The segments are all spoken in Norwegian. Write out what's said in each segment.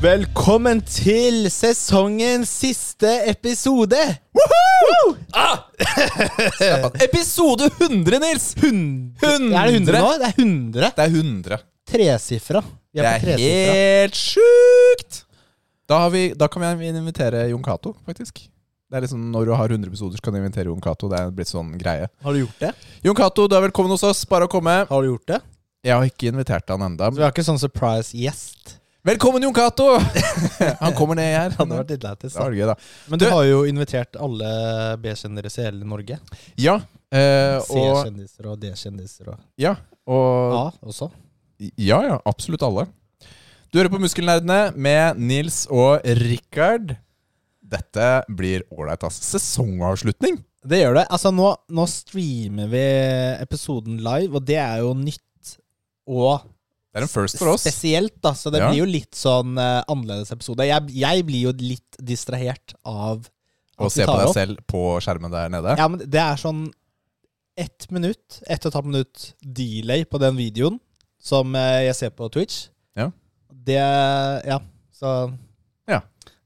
Velkommen til sesongens siste episode! Episode 100, Nils! 100 100. Er det 100 nå? Det er 100. Det er 100. Tresifra. Vi Det er er på tresifra. helt sjukt! Da, har vi, da kan vi invitere Jon Cato, faktisk. Det er liksom Når du har 100 episoder, så kan du invitere Jon Cato. Det er blitt sånn greie. Har du gjort det? Jon Cato, du er velkommen hos oss. Bare å komme. Har du gjort det? Jeg har ikke invitert han enda. Så vi har ikke sånn surprise gjest. Velkommen, Jon Cato! Han kommer ned her. Det hadde vært litt lættis. Det var gøy, da. Men du Du- har jo invitert alle B-kjendiser i hele Norge. Ja. eh, og, C-kjendiser og D-kjendiser og ja, og A også. Ja, ja, absolutt alle. Du hører på Muskelnerdene med Nils og Rikard. Dette blir ålreit, ass. Sesongavslutning! Det gjør det. Altså, nå, nå streamer vi episoden live, og det er jo nytt og Det er en first for oss. spesielt, da. Så det Ja. blir jo litt sånn eh, annerledes episode. Jeg, jeg blir jo litt distrahert av at Å vi se på tar deg opp. selv på skjermen der nede. Ja, men det er sånn ett minutt, ett og et halvt minutt delay på den videoen som eh, jeg ser på Twitch. Ja. Det Ja, så Ja.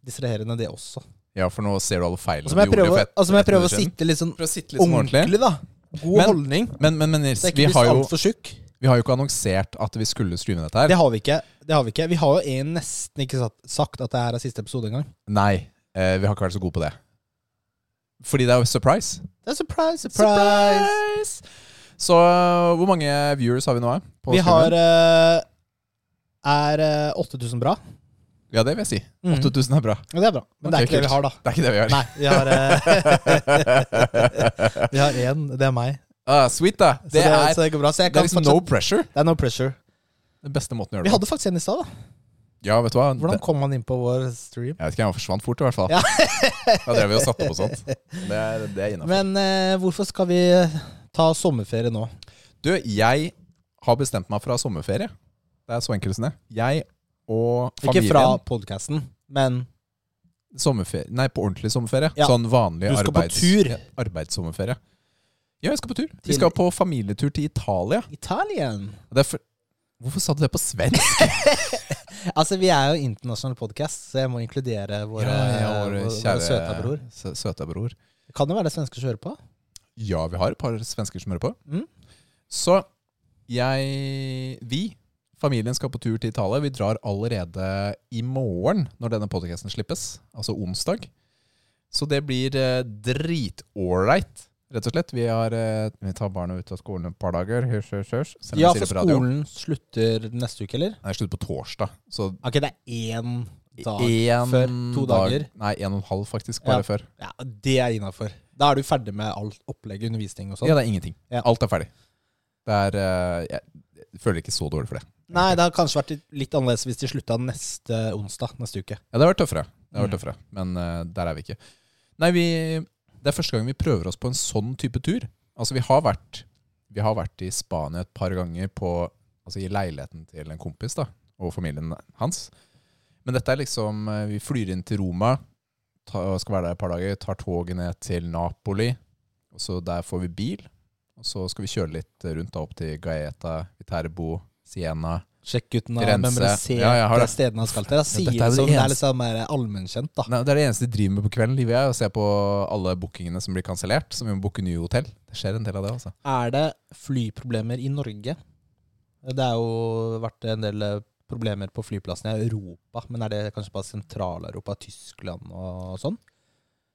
Distraherende, det også. Ja, for nå ser du alle feilene Og så må jeg du gjorde prøve, for ett- og så må jeg ett prøve å minutt siden. sitte litt sånn Prøve å sitte litt sånn ordentlig. ordentlig, da. God Men- holdning. Men, men, men Nils, Så jeg vi ikke har, blir jo, altfor tjukk. vi har jo ikke annonsert at vi skulle streame dette her. Det har vi ikke. Det har Vi ikke Vi har jo en nesten ikke sagt- sagt at det her er siste episode engang. Nei, eh, vi har ikke vært så gode på det. Fordi det er jo surprise. Det er surprise, surprise! Surprise! Så hvor mange viewers har vi nå? eh, på Vi streamen? har eh, Er eh, 8000 bra? Ja, det vil jeg si. Mhm. 8000 er bra. Ja, det er bra. Men det Ok, er ikke det kult. vi har, da. Det er ikke det vi gjør. Nei, vi har eh, Vi har én. Det er meg. Ah, sweet, da. Så Det, er, så det går bra. Så jeg det kan er liksom no fortsette- pressure. det er no pressure. Den beste måten Vi å gjøre det på. hadde faktisk en i stad, da. Ja, vet du hva? Hvordan Det, kom han inn på vår stream? jeg vet ikke, han forsvant fort, i hvert fall. Ja. da drev vi og satte på sånt. Det er, det er innafor. Men eh, hvorfor skal vi ta sommerferie nå? Du, jeg har bestemt meg for å ha sommerferie. Det er så enkelt som det. Jeg og Ikke familien fra podkasten, men sommerferie, Nei, på ordentlig sommerferie. Ja. Sånn vanlig Du skal på arbeids, tur. ja, arbeidssommerferie. Ja, jeg skal på tur. Til- Vi skal på familietur til Italia. Italien. Det er for... Hvorfor sa du det på svensk? Altså, vi er jo internasjonal podkast, så jeg må inkludere våre, vår våre, kjære- våre søta bror. sø- Søta bror. Det kan jo være det svensker som hører på. Ja, vi har et par svensker som hører på. Mm. Så jeg Vi, familien, skal på tur til Italia. Vi drar allerede i morgen, når denne podcasten slippes. Altså onsdag. Så det blir eh, dritålreit, rett og slett. Vi, har, eh, vi tar barna ut av skolen et par dager. Hørs, hørs, hørs. Selv om Ja, jeg for sier det på radio. skolen slutter neste uke, eller? Nei, Det er slutt på torsdag. Så Ok, det er én dag. en før, to dag- dager. Nei, en og en halv, faktisk. Bare Ja. før. Ja, Det er innafor. Da er du ferdig med alt opplegget, undervisning og sånn. Ja, det er ingenting. Ja. Alt er ferdig. Det er eh, Jeg jeg føler ikke så dårlig for det. Nei, det hadde kanskje vært litt- litt annerledes hvis de slutta neste onsdag neste uke. Ja, det har vært tøffere. Det har vært Mm. tøffere. Men eh, der er vi ikke. Nei, vi, det er første gang vi prøver oss på en sånn type tur. Altså, vi har vært, vi har vært i Spania et par ganger på, altså, i leiligheten til en kompis da, og familien hans. Men dette er liksom eh, Vi flyr inn til Roma, ta, skal være der et par dager, tar toget ned til Napoli. Og så der får vi bil. Og så skal vi kjøre litt rundt da, opp til Gaeta, Viterbo, Siena. Sjekk gutten har Firenze. memorisert Ja, jeg har de det. stedene han skal til. Da sier dette er det det sånn, det eneste- er litt sånn mer allmennkjent, da. Nei, det er det eneste de driver med på kvelden, livet er å se på alle bookingene som blir kansellert. Som vi må booke nye hotell. Det skjer en del av det, altså. Er det flyproblemer i Norge? Det er jo vært en del eh, problemer på flyplassene i Europa, men er det kanskje bare Sentral-Europa, Tyskland og sånn?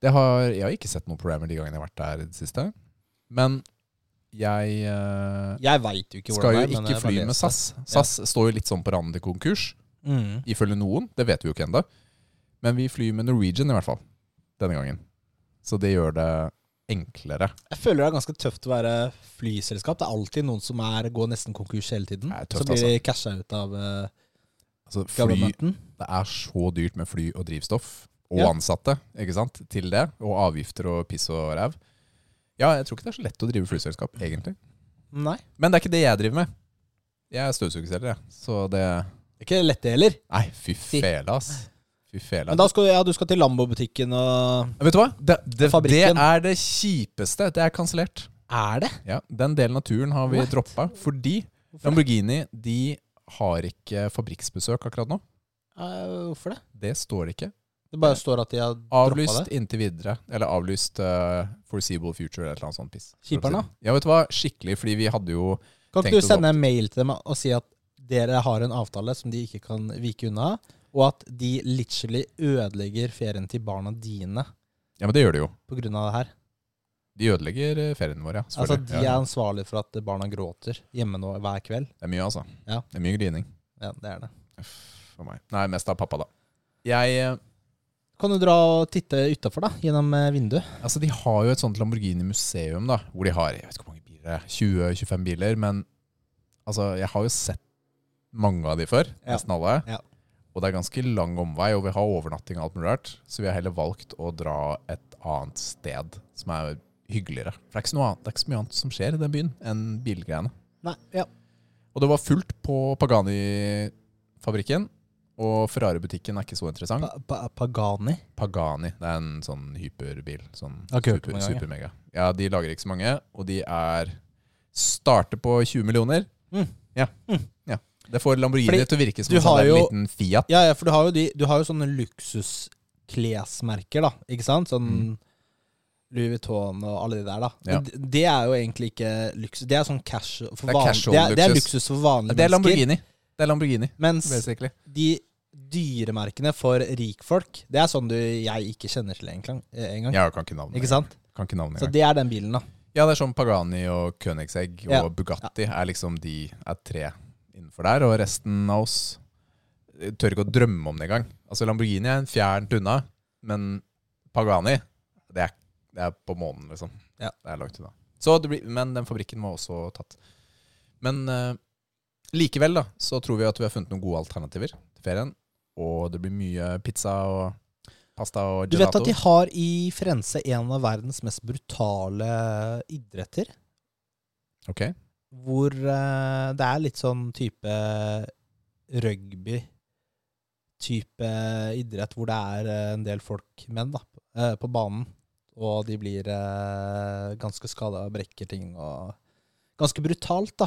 Det har, jeg har ikke sett noen problemer de gangene jeg har vært der i det siste. Men jeg eh, Jeg veit jo ikke skal hvordan jo det er. men ikke jeg bare fly leser med det. SAS. SAS står jo litt sånn på randen til konkurs, Mm. ifølge noen. Det vet vi jo ikke ennå. Men vi flyr med Norwegian i hvert fall. Denne gangen. Så det gjør det enklere. Jeg føler det er ganske tøft å være flyselskap. Det er alltid noen som er, går nesten konkurs hele tiden. Det er tøft, så blir de casha ut av uh, Altså, fly governmenten. Det er så dyrt med fly og drivstoff og Ja. ansatte ikke sant, til det, og avgifter og piss og ræv. Ja, jeg tror ikke det er så lett å drive flyselskap, egentlig. Nei. Men det er ikke det jeg driver med. Jeg er støvsugerselger, jeg. Så det Det er Ikke lett det heller. Nei, fy fela, ass. Fy fela. Men da skal, du- ja, du skal til Lambo-butikken og Vet du hva? Det, det, det Fabrikken. er det kjipeste. Det er kansellert. Er det? Ja, den delen av turen har vi What? droppa fordi Lamborghini de har ikke fabrikksbesøk akkurat nå. Eh, Hvorfor det? Det står det ikke. Det bare står at de har droppa Avlyst det. inntil videre. Eller avlyst eh, foreseeable future eller et eller annet sånt piss. Kjiperen, da? Ja, vet du hva? Skikkelig, fordi vi hadde jo Kan Tenk ikke å du sende en mail til dem og si at dere har en avtale som de ikke kan vike unna, og at de literally ødelegger ferien til barna dine Ja, men det gjør de jo. på grunn av det her? De ødelegger eh, ferien vår, ja. Altså, selvfølgelig. de er ansvarlig for at barna gråter hjemme nå hver kveld. Det er mye, altså. Ja. Det er mye grining. Ja, det er det. Uff, for meg. Nei, mest av pappa, da. Jeg eh, Kan du dra og titte utafor, da? Gjennom eh, vinduet? Altså, de har jo et sånt Lamborghini-museum, da. Hvor de har jeg vet ikke hvor mange biler, 20-25 biler. Men altså, jeg har jo sett mange av de før. Ja. Nesten alle. Ja. Og det er ganske lang omvei, og vi har overnatting og alt mulig rart. Så vi har heller valgt å dra et annet sted som er hyggeligere. For det er ikke, så noe annet, det er ikke så mye annet som skjer i den byen enn bilgreiene. Nei, ja. Og det var fullt på Pagani-fabrikken. Og Ferrari-butikken er ikke så interessant. Pa pa Pagani? Pagani. Det er en sånn hyperbil. Sånn Jeg har ikke hørt om super, engang, jeg. supermega. Ja, de lager ikke så mange, og de er Starter på 20 millioner. Mm. Ja. ja. Det får Lamborghini Fordi til å virke som du en sånn har der jo- liten Fiat. Ja, ja, for du har jo, de, du har jo sånne luksusklesmerker, da. Ikke sant? Sånn Louis Vuitton og alle de der, da. Mm. Ja. Men d- Det er jo egentlig ikke luksus. Det er sånn cash for Det er van- casual det, er, det er luksus. luksus for vanlige Det er mennesker. Lamborghini. Det er Lamborghini, Mens basically. de dyremerkene for rikfolk, det er sånn du jeg ikke kjenner til engang. engang. Ja, jeg kan ikke navnet. Ikke sant? Kan ikke navnet Så engang. det er den bilen, da. Ja, det er sånn Pagani og Königsegg og Ja. Bugatti er liksom de er tre innenfor der, og resten av oss eh, tør ikke å drømme om det engang. Altså Lamborghini er en fjernt unna, men Pagani, det er, det er på månen, liksom. Ja. Det er langt unna. Så det blir, men den fabrikken var også tatt. Men eh, likevel, da, så tror vi at vi har funnet noen gode alternativer til ferien. Og det blir mye pizza og pasta og Du vet gelato. at de har i Firenze en av verdens mest brutale idretter? Ok. hvor eh, det er litt sånn type rugby type idrett hvor det er eh, en del folk, menn, da, eh, på banen. Og de blir eh, ganske skada og brekker ting og Ganske brutalt, da.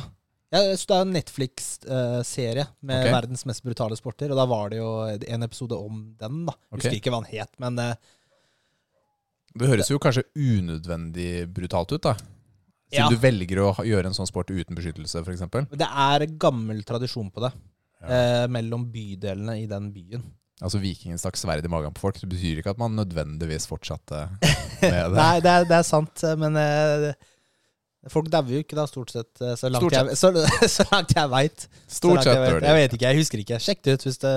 Ja, så det er en Netflix-serie med Ok. verdens mest brutale sporter, og da var det jo en episode om den, da. Ok. Husker ikke hva den het, men eh, Det høres jo kanskje unødvendig brutalt ut, da. Siden Ja. du velger å ha- gjøre en sånn sport uten beskyttelse, f.eks. det er gammel tradisjon på det. Ja. eh, mellom bydelene i den byen. Altså Vikingen stakk sverd i magen på folk. Det betyr ikke at man nødvendigvis fortsatte med det. Nei, det er, det er sant, men eh, folk dauer jo ikke da, stort sett, eh, så langt Stort sett. jeg, så, så langt jeg veit. Stort sett jeg, dør vet. jeg de. vet ikke, jeg husker ikke. Sjekk det ut hvis, det,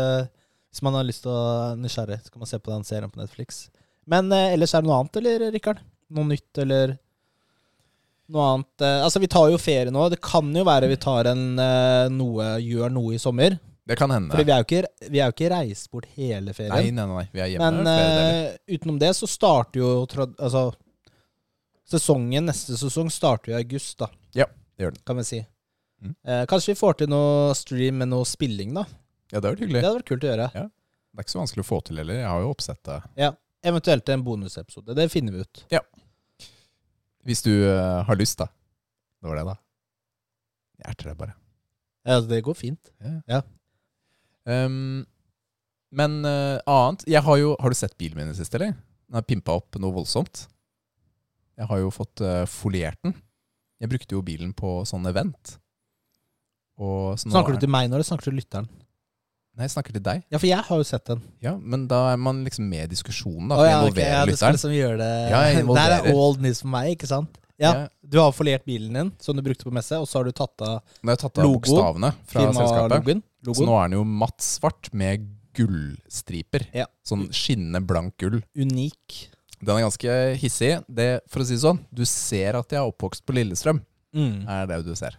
hvis man har lyst til å nysgjerrig. Så kan man se på den serien på Netflix. Men eh, ellers er det noe annet, eller, Rikard? Noe nytt, eller noe annet? Eh, altså, vi tar jo ferie nå. Det kan jo være vi tar en eh, noe, gjør noe i sommer. Det kan hende. Fordi vi er jo ikke, vi er jo ikke reist bort hele ferien. Nei, nei, nei. Vi er hjemme. Men flere deler. eh, utenom det så starter jo trad- altså, Sesongen neste sesong starter jo i august, da. Ja, det gjør den. Kan vi si. Mm. Eh, kanskje vi får til noe stream med noe spilling, da. ja, det er jo Det hyggelig. hadde vært kult å gjøre. Det er ikke så vanskelig å få til heller. Jeg har jo oppsettet. Eventuelt en bonusepisode. Det finner vi ut. Hvis du eh, har lyst, da. Det var det, da. Jeg erter deg bare. Ja, det går fint. Ja. Ehm, men eh, annet jeg har, jo, har du sett bilen min i det siste, eller? Den har pimpa opp noe voldsomt. Jeg har jo fått eh, foliert den. Jeg brukte jo bilen på sånn event. Og så nå Snakker er- du til meg nå, eller snakker du til lytteren? Nei, jeg snakker til deg. Ja, for jeg har jo sett den. Ja, Men da er man liksom med i diskusjonen. da, Å, for ja, jeg ok, involverer ja, du skal lytteren. liksom gjøre det Ja, jeg Der er involverer. old news for meg, ikke sant? Ja. Ja, Du har foliert bilen din, som du brukte på messe, og så har du tatt av Nå har jeg tatt av Logo, bokstavene fra selskapet. firmalogoen. Så Logoen. nå er den jo matt svart med gullstriper. Ja. Sånn skinnende blank gull. Unik. Den er ganske hissig. Det, for å si det sånn, du ser at jeg er oppvokst på Lillestrøm. Mm. er det du ser.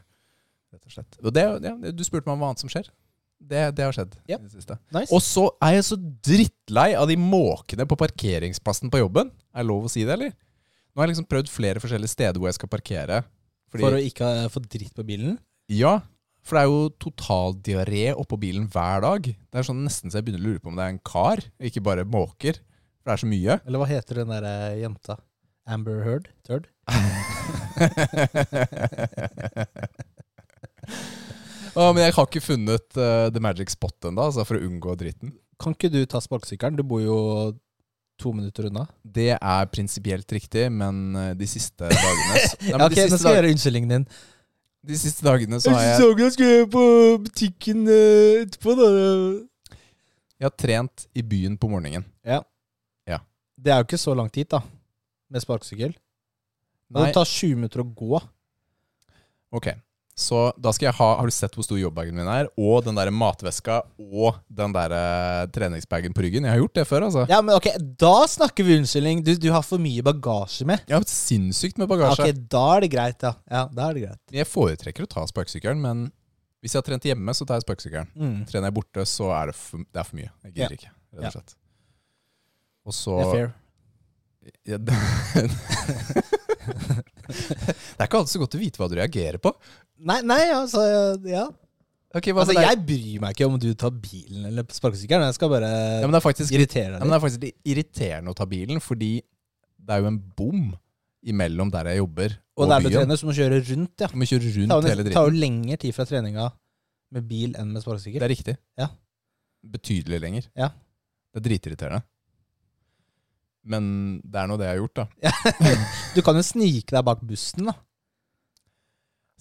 Rett og slett. Og det, ja, det- du spurte meg om hva annet som skjer. Det, det har skjedd Ja. i det siste. Nice. Og så er jeg så drittlei av de måkene på parkeringsplassen på jobben. Er det lov å si det, eller? Nå har jeg liksom prøvd flere forskjellige steder hvor jeg skal parkere. Fordi, For å ikke eh, få dritt på bilen? Ja, for det er jo totaldiaré oppå bilen hver dag. Det er sånn nesten så jeg begynner å lure på om det er en kar, ikke bare måker. For det er så mye. Eller hva heter den der eh, jenta? Amber Heard? Turd? Å, men jeg har ikke funnet eh, the magic spot ennå, altså, for å unngå dritten. Kan ikke du ta sparkesykkelen? Du bor jo to minutter unna. Det er prinsipielt riktig, men eh, de siste dagene s- Nei, Ja, men ok, de, Nå siste skal jeg dag, gjøre unnskyldningen din. de siste dagene så har jeg jeg skulle på butikken eh, etterpå, da. Jeg har trent i byen på morgenen. Det er jo ikke så langt dit, da. Med sparkesykkel. Det Nei. tar 20 minutter å gå. Ok, så da skal jeg ha Har du sett hvor stor jobbbagen min er? Og den der matveska og den der eh, treningsbagen på ryggen. Jeg har gjort det før, altså. Ja, men ok, Da snakker vi unnskyldning. Du, du har for mye bagasje med. Jeg har hatt sinnssykt med Ja, bagasje. Ok, Da er det greit, ja. ja da er det greit. Jeg foretrekker å ta sparkesykkelen, men hvis jeg har trent hjemme, så tar jeg sparkesykkelen. Mm. Trener jeg borte, så er det for, det er for mye. Jeg gidder ikke, Ja. rett og slett. Og så Det er fair. Ja, det, det er ikke alltid så godt å vite hva du reagerer på. Nei, nei, altså Ja. Ok, hva med Altså, deg? jeg bryr meg ikke om du tar bilen eller sparkesykkelen. Jeg skal bare ja, men det er faktisk irritere deg Ja, litt. men det er faktisk litt irriterende å ta bilen, fordi det er jo en bom imellom der jeg jobber og, og der du byen. trener, så må du kjøre rundt, ja. Du må kjøre Det tar rundt jo hele nesten- tar dritten. jo lengre tid fra treninga med bil enn med Det sparkesykkel. er riktig. Ja. Betydelig lenger. Ja. Det er dritirriterende. Men det er nå det jeg har gjort, da. Du kan jo snike deg bak bussen, da.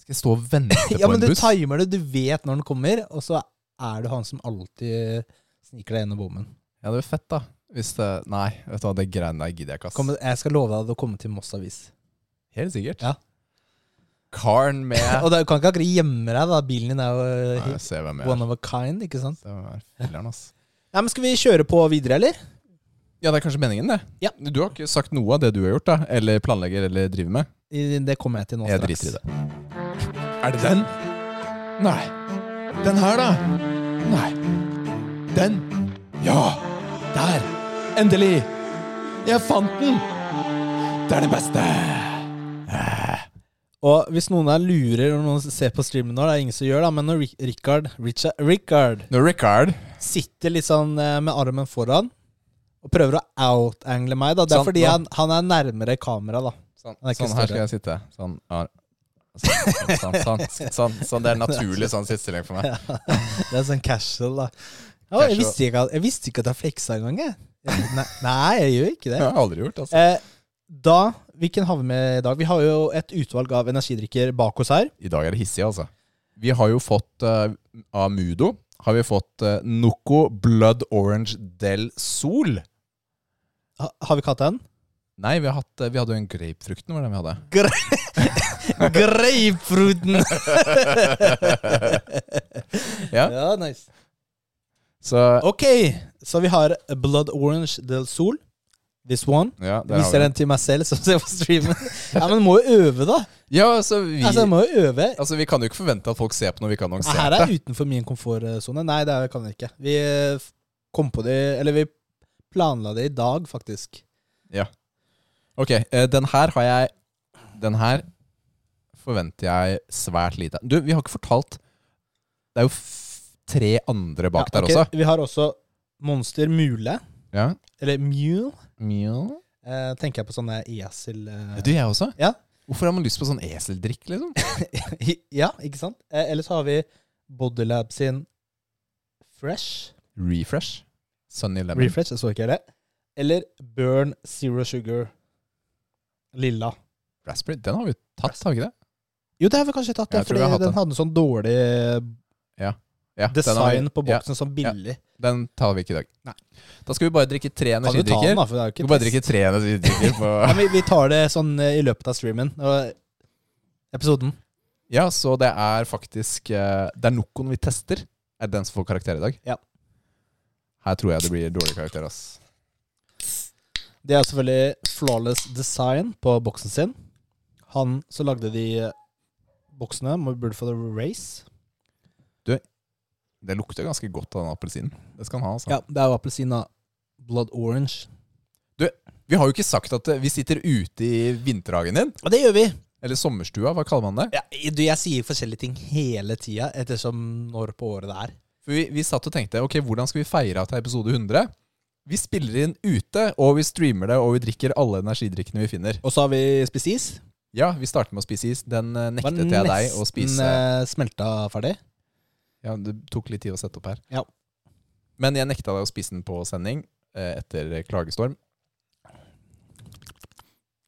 Skal jeg stå og vente på Ja, men en du buss? timer det, du vet når den kommer, og så er du han som alltid sniker deg gjennom bommen. Ja, det blir fett, da. Hvis det Nei, vet du hva, det greiene der gidder jeg ikke, ass. Kom, jeg skal love deg at du kommer til Moss Avis. Helt sikkert. Ja. Karen med Og da, du kan ikke akkurat gjemme deg, da. Bilen din er jo eh, Nei, helt Se hvem jeg er. one of a kind, ikke sant? Se hvem jeg er. Filler'n, ass. Ja, men Skal vi kjøre på videre, eller? Ja, det er kanskje meningen, det. Ja. Du har ikke sagt noe av det du har gjort, da. Eller planlegger, eller driver med. I- Det kommer jeg til nå Jeg straks. driter i det. Er det den? Nei. Den her, da? Nei. Den? Ja! Der! Endelig! Jeg fant den! Det er det beste! Og hvis noen her lurer og noen ser på streamen nå, det er ingen som gjør det, men når Ri- Richard, Richard, Richard Når Ricard sitter litt sånn eh, med armen foran og prøver å outangle meg, da. Det er Sant, fordi da. han, han er nærmere kamera, da. Sånn, Han er ikke sånn her skal større. jeg sitte. Sånn. Ja. Sånn, sånn, sånn, sånn, sånn, sånn. Det er naturlig sånn sittestilling for meg. Det er sånn casual, da. Ja, Casual. jeg, visste ikke, at- jeg visste ikke at jeg fleksa engang, jeg. Jeg- Nei, nei, jeg gjør ikke Det har det. jeg aldri gjort. altså. Eh, da, Hvilken har vi med i dag? Vi har jo et utvalg av energidrikker bak oss her. I dag er det hissig, altså. Vi har jo fått eh, av Mudo har vi fått eh, Noco Blood Orange Del Sol. Ha, har vi ikke hatt den? Nei, vi, har hatt, eh, vi hadde jo en grapefrukten, var det vi hadde. Grapefruten! Ja. ja, nice. Så Ok, så vi har Blood Orange del Sol. This one. ja, der har vi Viser den til meg selv, som ser på streamen. Ja, Men må jo øve, da. Ja, altså vi, Altså, jeg må jo øve. altså, vi kan jo ikke forvente at folk ser på når vi ikke har Nei, annonsert Her er det. utenfor min komfortsone. Nei, det er- kan jeg ikke. Vi eh, kom på det Eller vi planla det i dag, faktisk. Ok, eh, den her har jeg Den her forventer jeg svært lite. Du, vi har ikke fortalt Det er jo f tre andre Ja, bak ok. der også. Vi har også Monster Mule. Ja. Eller Mule. Eh, tenker jeg på sånne esel... eh, Du, jeg også? Ja. Hvorfor har man lyst på sånn eseldrikk, liksom? ja, ikke sant? Eh, eller så har vi Bodylab sin Fresh. Refresh. Sunny Lemon. Refresh, jeg så ikke det. Eller Burn Zero Sugar. Lilla. Raspberry. Den har vi tatt, har vi ikke det? Jo, det har vi kanskje tatt, ja, Jeg tror vi har fordi hatt den den. hadde en sånn dårlig Ja, den har vi- design på ja. boksen, sånn billig. Den tar vi ikke i dag. Nei. Da skal vi bare drikke tre Kan du ta den, energidrikker. da? For det er jo Vi ikke skal bare test. drikke tre energidrikker på Ja, men vi tar det sånn eh, i løpet av streamen. Og episoden. Ja, så det er faktisk eh, Det er Nocoen vi tester, er den som får karakter i dag. Ja. Her tror jeg det blir dårlig karakter, ass. Det er selvfølgelig flawless design på boksen sin. Han som lagde de eh, boksene, må burde få det race. Det lukter ganske godt av den appelsinen. Det skal han ha, altså. Ja, det er jo appelsin, da. Blood orange. Vi har jo ikke sagt at eh, vi sitter ute i vinterhagen din. Og det gjør vi. Eller sommerstua, hva kaller man det? Ja, du, jeg sier forskjellige ting hele tida, ettersom når på året det er. For vi, vi satt og tenkte ok, hvordan skal vi feire at det er episode 100? Vi spiller inn ute, og vi streamer det, og vi drikker alle energidrikkene vi finner. Og så har vi spist is. Ja, vi starter med å spise is. Den eh, nektet jeg deg å spise. smelta ferdig. Ja, det tok litt tid å sette opp her. Ja. Men jeg nekta deg å spise den på sending eh, etter klagestorm.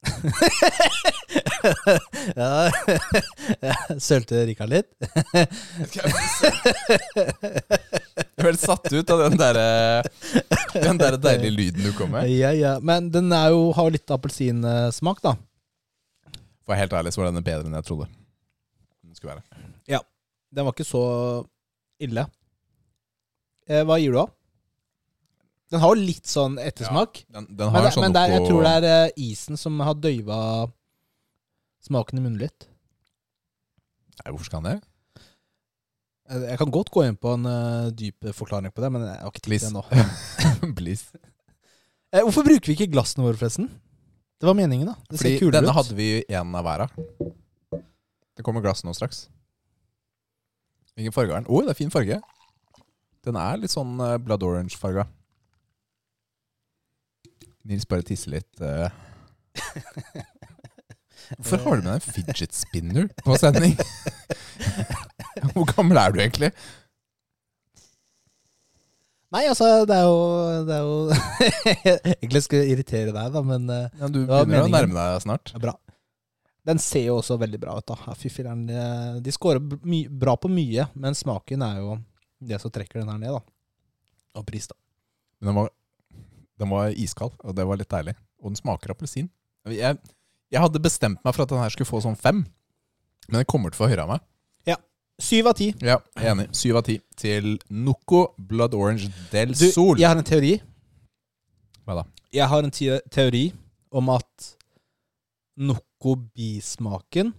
ja, jeg sølte Rikard litt. Jeg ble satt ut av den der, eh, den der deilige lyden du kom med. Ja, ja. Men den er jo, har jo litt appelsinsmak, da. For helt ærlig så var denne bedre enn jeg trodde. Den skulle være. Den var ikke så ille. Eh, hva gir du av? Den har jo litt sånn ettersmak. Den, den men har det, sånn men det er, jeg oppå- tror det er eh, isen som har døyva smaken i munnen litt. Nei, hvorfor skal han det? Eh, Jeg kan godt gå inn på en eh, dyp forklaring på det, men jeg har ikke tid til det nå. Please. Eh, hvorfor bruker vi ikke glassene våre, forresten? Det var meningen, da. Det ser Fordi kulere denne ut. hadde vi en av hver av. Det kommer glass nå straks. Hvilken farge er den? Oi, det er fin farge. Den er litt sånn eh, blood orange-farga. Nils bare tisser litt. eh. Hvorfor har du med deg en fidget spinner på sending? Hvor gammel er du egentlig? Nei, altså, det er jo, det er jo Egentlig skulle jeg irritere deg, da, men eh, Ja, du Det var begynner å meningen. nærme deg snart. det er bra. Den ser jo også veldig bra ut, da. Ja, Fy filler'n. eh, De scorer b- my- bra på mye, men smaken er jo det som trekker den her ned, da. Og pris, da. Men den var, den var iskald, og det var litt deilig. Og den smaker appelsin. Jeg, jeg hadde bestemt meg for at den her skulle få sånn fem, men den kommer til å få høyere av meg. Syv av ti. Ja, jeg er enig. Syv av ti til Noco Blood Orange del Du, Sol. jeg har en teori. Hva da? Jeg har en te teori om at Noco-bismaken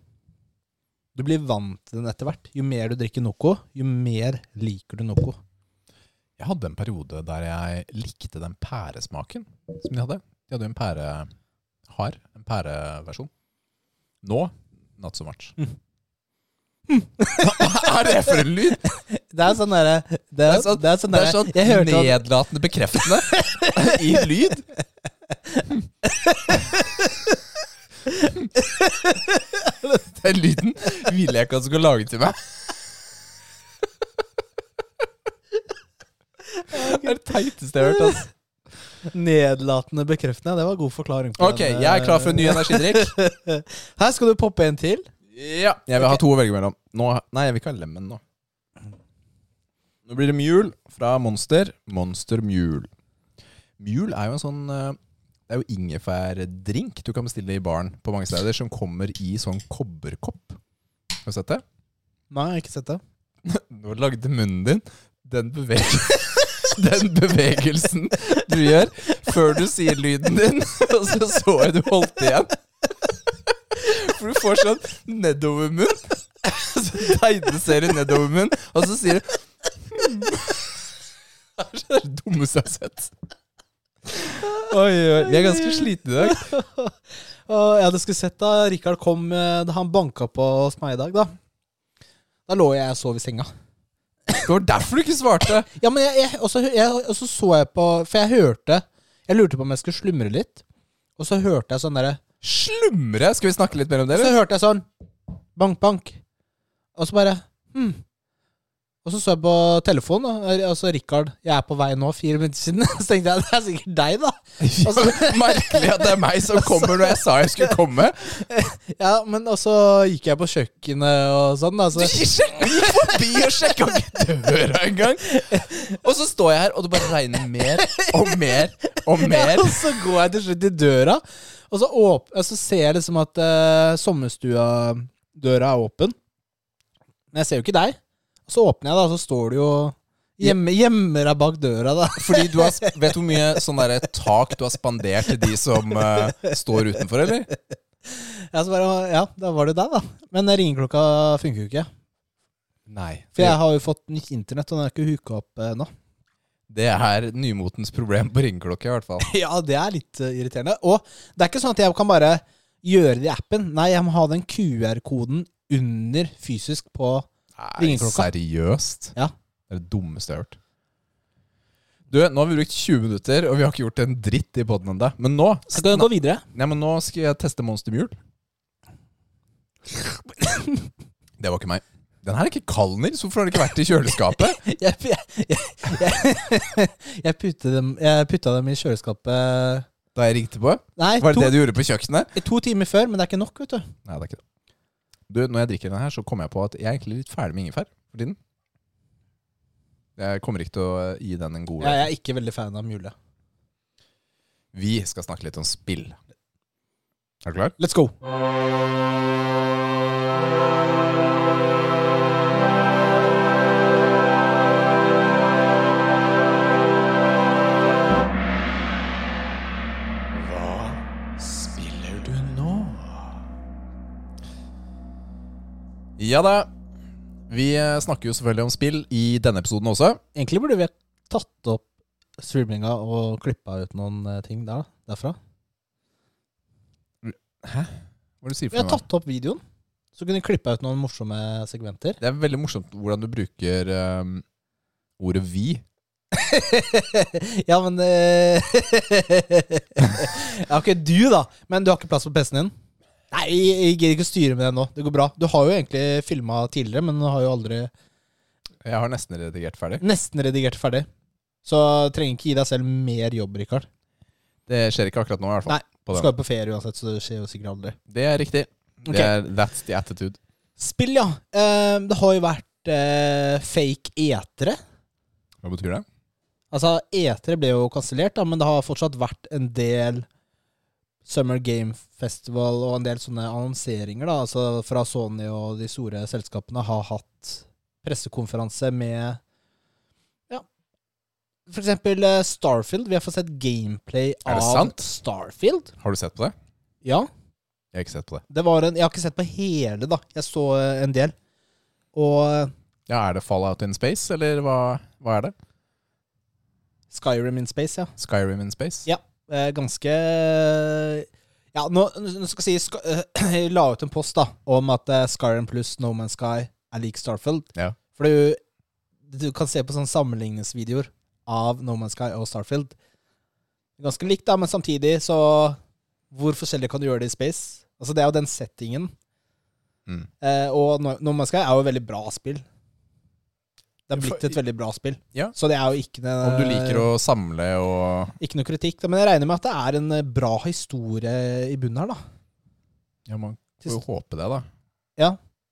Du blir vant til den etter hvert. Jo mer du drikker Noco, jo mer liker du Noco. Jeg hadde en periode der jeg likte den pæresmaken som de hadde. De hadde jo en pærehard, en pæreversjon. Nå not so much. Hva er det for en lyd? Det er sånn derre det, Det er- er sånn, det er sånn derre Jeg hørte at nedlatende bekreftende i lyd. Den lyden ville jeg ikke at du skulle lage til meg. Det er det teiteste jeg har hørt. Altså. nedlatende bekreftende. Det var god forklaring. på Ok, den, jeg er klar for en ny eh, energidrikk. Her skal du poppe en til. Ja, Jeg vil ha to å velge mellom. Nå, nei, jeg vil ikke ha lemen nå. Nå blir det Mule fra Monster. Monster Mule. Mule er jo en sånn eh, Det er jo ingefærdrink du kan bestille i baren på mange steder, som kommer i sånn kobberkopp. Har du sett det? Nei, jeg har ikke sett det. Nå lagde munnen din den, beveg den bevegelsen du gjør før du sier lyden din, og så så jeg du holdt igjen. For du får sånn nedover munn, så tegne ser du nedover munn, og så sier du Det er så det dummeste jeg har sett. Oi, oi, vi er ganske slitne i dag. Og jeg hadde skulle sett da Rikard kom eh, da Han banka på hos meg i dag, da. Da lå jeg og sov i senga. Det var derfor du ikke svarte. Ja, men jeg, jeg, også, jeg, og så så jeg på For jeg hørte Jeg lurte på om jeg skulle slumre litt. Og så hørte jeg sånn derre Slumre. Skal vi snakke litt mer om det? Så eller? hørte jeg sånn Bank, bank. Og så bare hm. Og så så jeg på telefonen, da, og så Rikard Jeg er på vei nå, fire minutter siden. Så tenkte jeg det er sikkert deg, da. Og så- Merkelig at Altså, det er meg som kommer når jeg sa jeg skulle komme. Ja, men og så gikk jeg på kjøkkenet og sånn, da. Du Så sjekk- gikk forbi og sjekka ikke døra engang! Og så står jeg her, og det bare regner mer og mer og Ja, mer. og så går jeg til slutt i døra, og så, åp og så ser jeg liksom at uh, sommerstua-døra er åpen. Men jeg ser jo ikke deg. Og så åpner jeg, da, og så står du jo hjemme, gjemmer deg bak døra, da. Fordi du har, sp- Vet du hvor mye sånn derre tak du har spandert til de som eh, står utenfor, eller? Ja, så bare, ja, da var det deg, da. Men ringeklokka funker jo ikke. Nei. For jeg har jo fått nytt internett, og den er ikke huka opp eh, ennå. Det er nymotens problem på ringeklokke, i hvert fall. Ja, det er litt eh, irriterende. Og det er ikke sånn at jeg kan bare gjøre det i appen. Nei, jeg må ha den QR-koden under fysisk på Nei, Ringeklokka. seriøst? Ja. Det er det dummeste jeg har hørt. Du, Nå har vi brukt 20 minutter, og vi har ikke gjort en dritt i poden ennå. Men nå Så kan vi gå videre. Nei, men nå skal jeg teste Monster Mule. Det var ikke meg. Den her er ikke kald, Nils. Hvorfor har det ikke vært i kjøleskapet? Jeg, jeg, jeg, jeg, jeg, puttet dem, jeg putta dem i kjøleskapet Da jeg ringte på? Nei, Var det to, det du gjorde på kjøkkenet? to timer før, men det er ikke nok, vet du. Nei, det er ikke det. Du, når jeg drikker den her, så kommer jeg på at jeg er egentlig litt ferdig med ingefær for tiden. Jeg kommer ikke til å gi den en god Jeg er ikke veldig fan av mule. Vi skal snakke litt om spill. Er du klar? Let's go! Hva spiller du nå? Ja da. Vi eh, snakker jo selvfølgelig om spill i denne episoden også. Egentlig burde vi ha tatt opp streaminga og klippa ut noen eh, ting der, da, derfra. Hva er det du sier Vi for har noe? tatt opp videoen, så kunne vi klippa ut noen morsomme segmenter. Det er veldig morsomt hvordan du bruker eh, ordet 'vi'. ja, men eh, Ja, ok, du, da. Men du har ikke plass på PC-en din? Nei, jeg gidder ikke å styre med det nå. Det går bra. Du har jo egentlig filma tidligere, men du har jo aldri Jeg har nesten redigert ferdig. nesten redigert ferdig. Så trenger ikke gi deg selv mer jobb, Rikard. Det skjer ikke akkurat nå, i hvert fall. Nei, Du på den. skal jo på ferie uansett, så det skjer jo sikkert aldri. Det er riktig. Ok. Det er, that's the attitude. Spill, ja. Eh, det har jo vært eh, fake etere. Hva betyr det? Altså, etere ble jo kansellert, da, men det har fortsatt vært en del Summer Game Festival og en del sånne annonseringer da, altså fra Sony og de store selskapene har hatt pressekonferanse med ja, for eksempel eh, Starfield. Vi har fått sett gameplay Er det av sant? Starfield. Har du sett på det? Ja, Jeg har ikke sett på det. det var en, jeg har ikke sett på hele, da. Jeg så eh, en del. Og eh, Ja, Er det Fallout in Space, eller hva, hva er det? Skyrim in Space, ja. Skyrim in Space? Ja. Eh, ganske Ja, nå, nå skal jeg si Sk- eh, Jeg la ut en post da om at eh, Skyrim pluss No Man's Sky er lik Starfield. Ja. For du, du kan se på sånne sammenligningsvideoer av No Man's Sky og Starfield. Ganske likt, da, men samtidig så Hvor forskjellig kan du gjøre det i space? Altså Det er jo den settingen. Mm. Eh, og No No Man's Sky er jo et veldig bra spill. Det er For- blitt et veldig bra spill. Ja. Så det er jo ikke noe Om du liker å samle og ikke noe kritikk, da, men jeg regner med at det er en eh, bra historie i bunnen her, da. Ja, man Til får jo håpe det, da.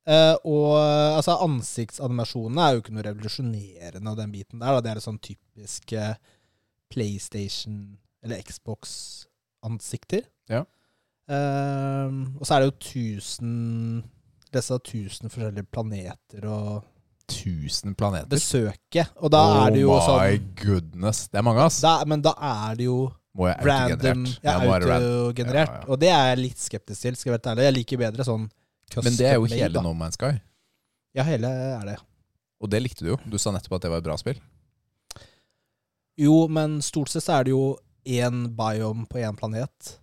Eh, og eh, altså, ansiktsanimasjonene er jo ikke noe revolusjonerende av den biten der. Da. Det er et sånn typisk eh, PlayStation- eller Xbox-ansikter. Ja. Eh, og så er det jo 1000 Disse 1000 forskjellige planeter å 1000 planeter. besøke. Og da er det jo oh my sånn goodness. Det er mange, ass. da, Men da er det jo Må jeg random autogenerert? ja, Jeg må være random. autogenerert. Ja, ja. Og det er jeg litt skeptisk til, skal jeg være helt ærlig. Jeg liker bedre sånn custom Men det er jo made, da. hele No Man's Sky. Ja, hele er det. Og det likte du jo. Du sa nettopp at det var et bra spill. Jo, men stort sett så er det jo én biome på én planet.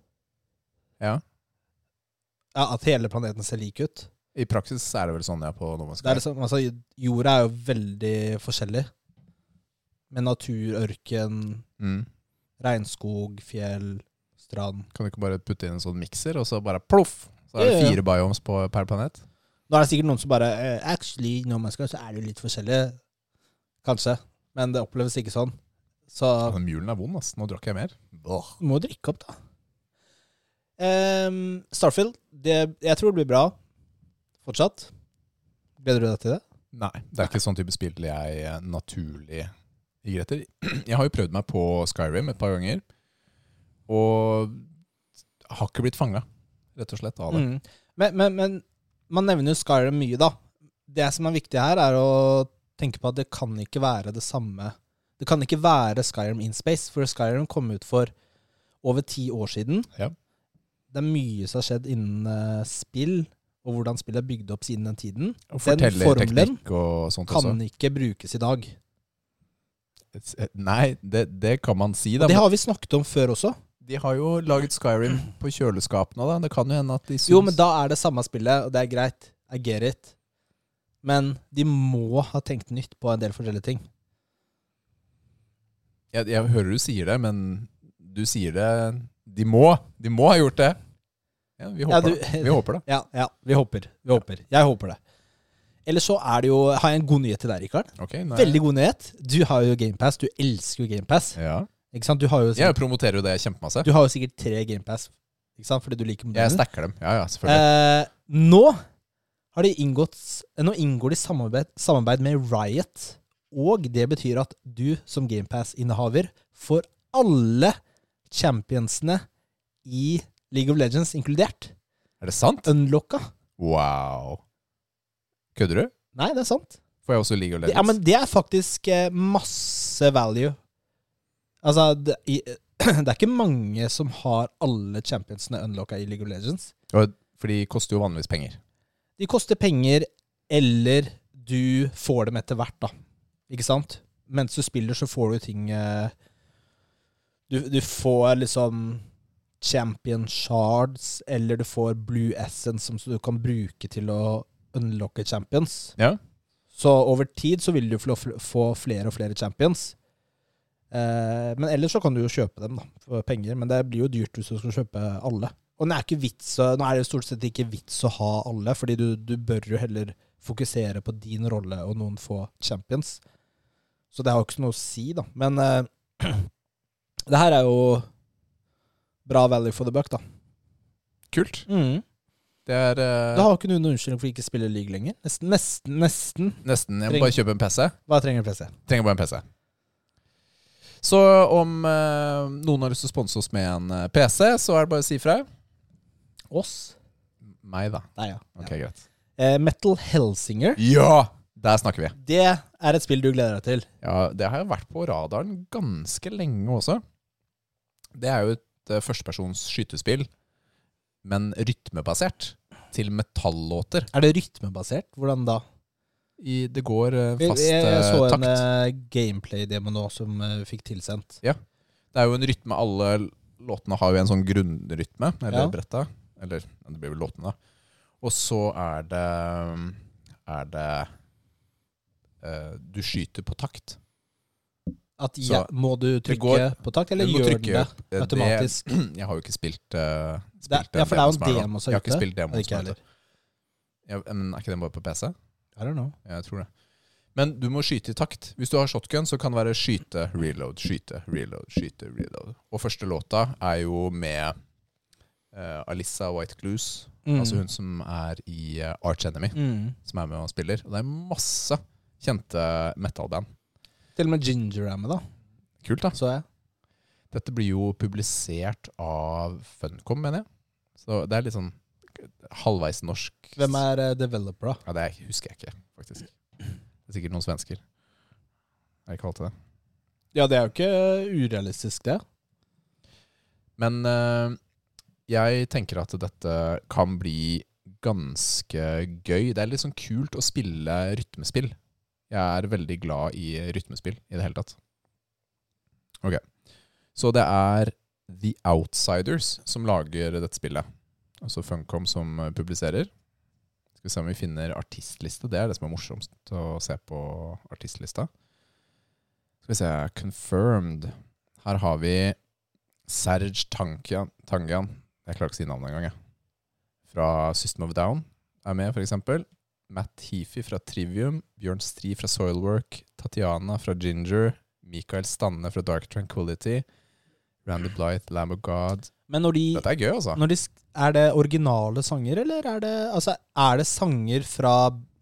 Ja. Ja, At hele planeten ser lik ut. I praksis er det vel sånn, ja, på No Man's Det er Sky. liksom, altså, jorda er jo veldig forskjellig. Med natur, ørken, Mm. regnskog, fjell, strand. Kan du ikke bare putte inn en sånn mikser, og så bare ploff? Så er Ja, det ja. fire biomes på, per planet. Nå er det sikkert noen som bare eh, Actually, når man skal, så er det jo litt forskjellig. Kanskje. Men det oppleves ikke sånn. Så Ja, den mulen er vond, ass. Nå drakk jeg mer. Åh. du må jo drikke opp, da. Ehm, Starfield, det, jeg tror det blir bra fortsatt. Gleder du deg til det? Nei, det er ikke sånn type spill jeg eh, naturlig ligger etter. Jeg har jo prøvd meg på Skyrim et par ganger, og har ikke blitt fanga, rett og slett, av det. Mm. Men, men, men man nevner jo Skyrim mye, da. Det som er viktig her, er å tenke på at det kan ikke være det samme Det kan ikke være Skyrim in space, for Skyrim kom ut for over ti år siden. Ja. Det er mye som har skjedd innen eh, spill, og hvordan spill er bygd opp siden den tiden. Og Den formelen Fortellerteknikk og sånt Kan også. eh, ikke brukes i dag. Nei, det, det kan man si, da. Det men har vi snakket om før også. De har jo laget Skyrim på kjøleskapene, da. Det kan jo hende at de syns Jo, men da er det samme spillet, og det er greit. I get it. Men de må ha tenkt nytt på en del forskjellige ting. jeg, jeg hører du sier det, men du sier det De må! De må ha gjort det! Ja, vi håper Ja, du- det. Vi håper det. Ja, ja vi håper. Vi håper. Jeg håper det. Eller så er det jo, har jeg en god nyhet til deg, Rikard. Ok, nei. Veldig god nyhet. Du har jo GamePass. Du elsker jo GamePass. Ja. Ikke sant? Du har jo sikkert, Jeg promoterer jo det kjempemasse. du har jo sikkert tre GamePass, ikke sant? Fordi du liker Jeg modellen. stacker dem. Ja, ja, selvfølgelig. Eh, nå har de inngått Nå inngår de samarbeid, samarbeid med Riot. Og det betyr at du som GamePass-innehaver får alle championsene i League of Legends inkludert. Er det sant? Unlocka. Wow. Kødder du? Nei, det er sant. Får jeg også League of Det, Legends? ja, men det er faktisk eh, masse value. Altså, det, i, det er ikke mange som har alle championsene unlocka i League of Legends. Og- For de koster jo vanligvis penger. De koster penger, eller du får dem etter hvert, da. Ikke sant? Mens du spiller, så får du ting eh, Du, du får liksom champion shards, eller du får blue essence som du kan bruke til å unlocke champions. Ja. Så over tid så vil du få få flere og flere champions. Eh, men ellers så kan du jo kjøpe dem da, for penger, men det blir jo dyrt hvis du skal kjøpe alle. Og det er ikke vits, å- nå er det stort sett ikke vits å ha alle, fordi du, du bør jo heller fokusere på din rolle og noen få champions. Så det har jo ikke noe å si, da. Men eh, det her er jo bra value for the buck, da. Kult. Det er eh, Da har jo ikke du noen unnskyldning for ikke å spille league lenger. Nesten, nesten, nesten. nesten Jeg Treng- må bare kjøpe en PC. Hva trenger PC? Trenger bare en PC. Så om eh, noen har lyst til å sponse oss med en eh, PC, så er det bare å si ifra. Oss? Meg, da. Nei, ja. Ok, greit. Eh, Metal Hellsinger. Ja! Der snakker vi. Det er et spill du gleder deg til. Ja, Det har jo vært på radaren ganske lenge også. Det er jo et eh, førstepersons skytespill, men rytmebasert. Til metallåter. Er det rytmebasert? Hvordan da? I, det går eh, Jeg, fast jeg, jeg eh, så takt. en eh, gameplay-demo nå som eh, vi fikk tilsendt. Det er jo en rytme Alle låtene har jo en sånn grunnrytme, eller Ja. bretta. Eller ja, det blir vel låtene, da. Og så er det Er det eh, Du skyter på takt. At Så- ja, må du Det trykke går- på takt, eller Du må gjør trykke den det opp, eh, det- automatisk? Jeg har jo ikke spilt, eh, Det er- spilt ja, for det er jo en demoen som demo nå. som er Jeg har ikke ute. spilt demoen Ikke som jeg er ute. heller. Ja, men er ikke den bare på PC? I don't know. Jeg tror det. Men du må skyte i takt. Hvis du har shotgun, så kan det være skyte, reload, skyte, reload, skyte, reload. Og første låta er jo med eh, Alissa White Clues, Mm. altså hun som er i eh, Arch Enemy, Mm. som er med og spiller. Og det er masse kjente metal-band. Til og med Ginger er med, da, Kult, da. så jeg. Dette blir jo publisert av Funcom, mener jeg. Så det er litt sånn halvveis norsk. Hvem er eh, developer, da? Ja, Det husker jeg ikke, faktisk. Det er sikkert noen svensker. Er det ikke alt til det? Ja, det er jo ikke eh, urealistisk, det. Men eh, jeg tenker at dette kan bli ganske gøy. Det er litt sånn kult å spille rytmespill. Jeg er veldig glad i rytmespill i det hele tatt. Ok. Så det er The Outsiders som lager dette spillet. Altså Funcom som eh, publiserer. Skal vi se om vi finner artistliste. Det er det som er morsomst å se på artistlista. Skal vi se Confirmed. Her har vi Serge Tankian, Tangian Jeg klarer ikke å si navnet engang. jeg. Fra System of a Down er med, f.eks. Matt Heafy fra Trivium. Bjørn Stri fra Soilwork. Tatiana fra Ginger. Mikael Stanne fra Dark Tranquility. Randy Blythe, Lamb of God. Men når de, Dette er gøy, altså. når de sk- Er det originale sanger, eller er det, altså, er det sanger fra,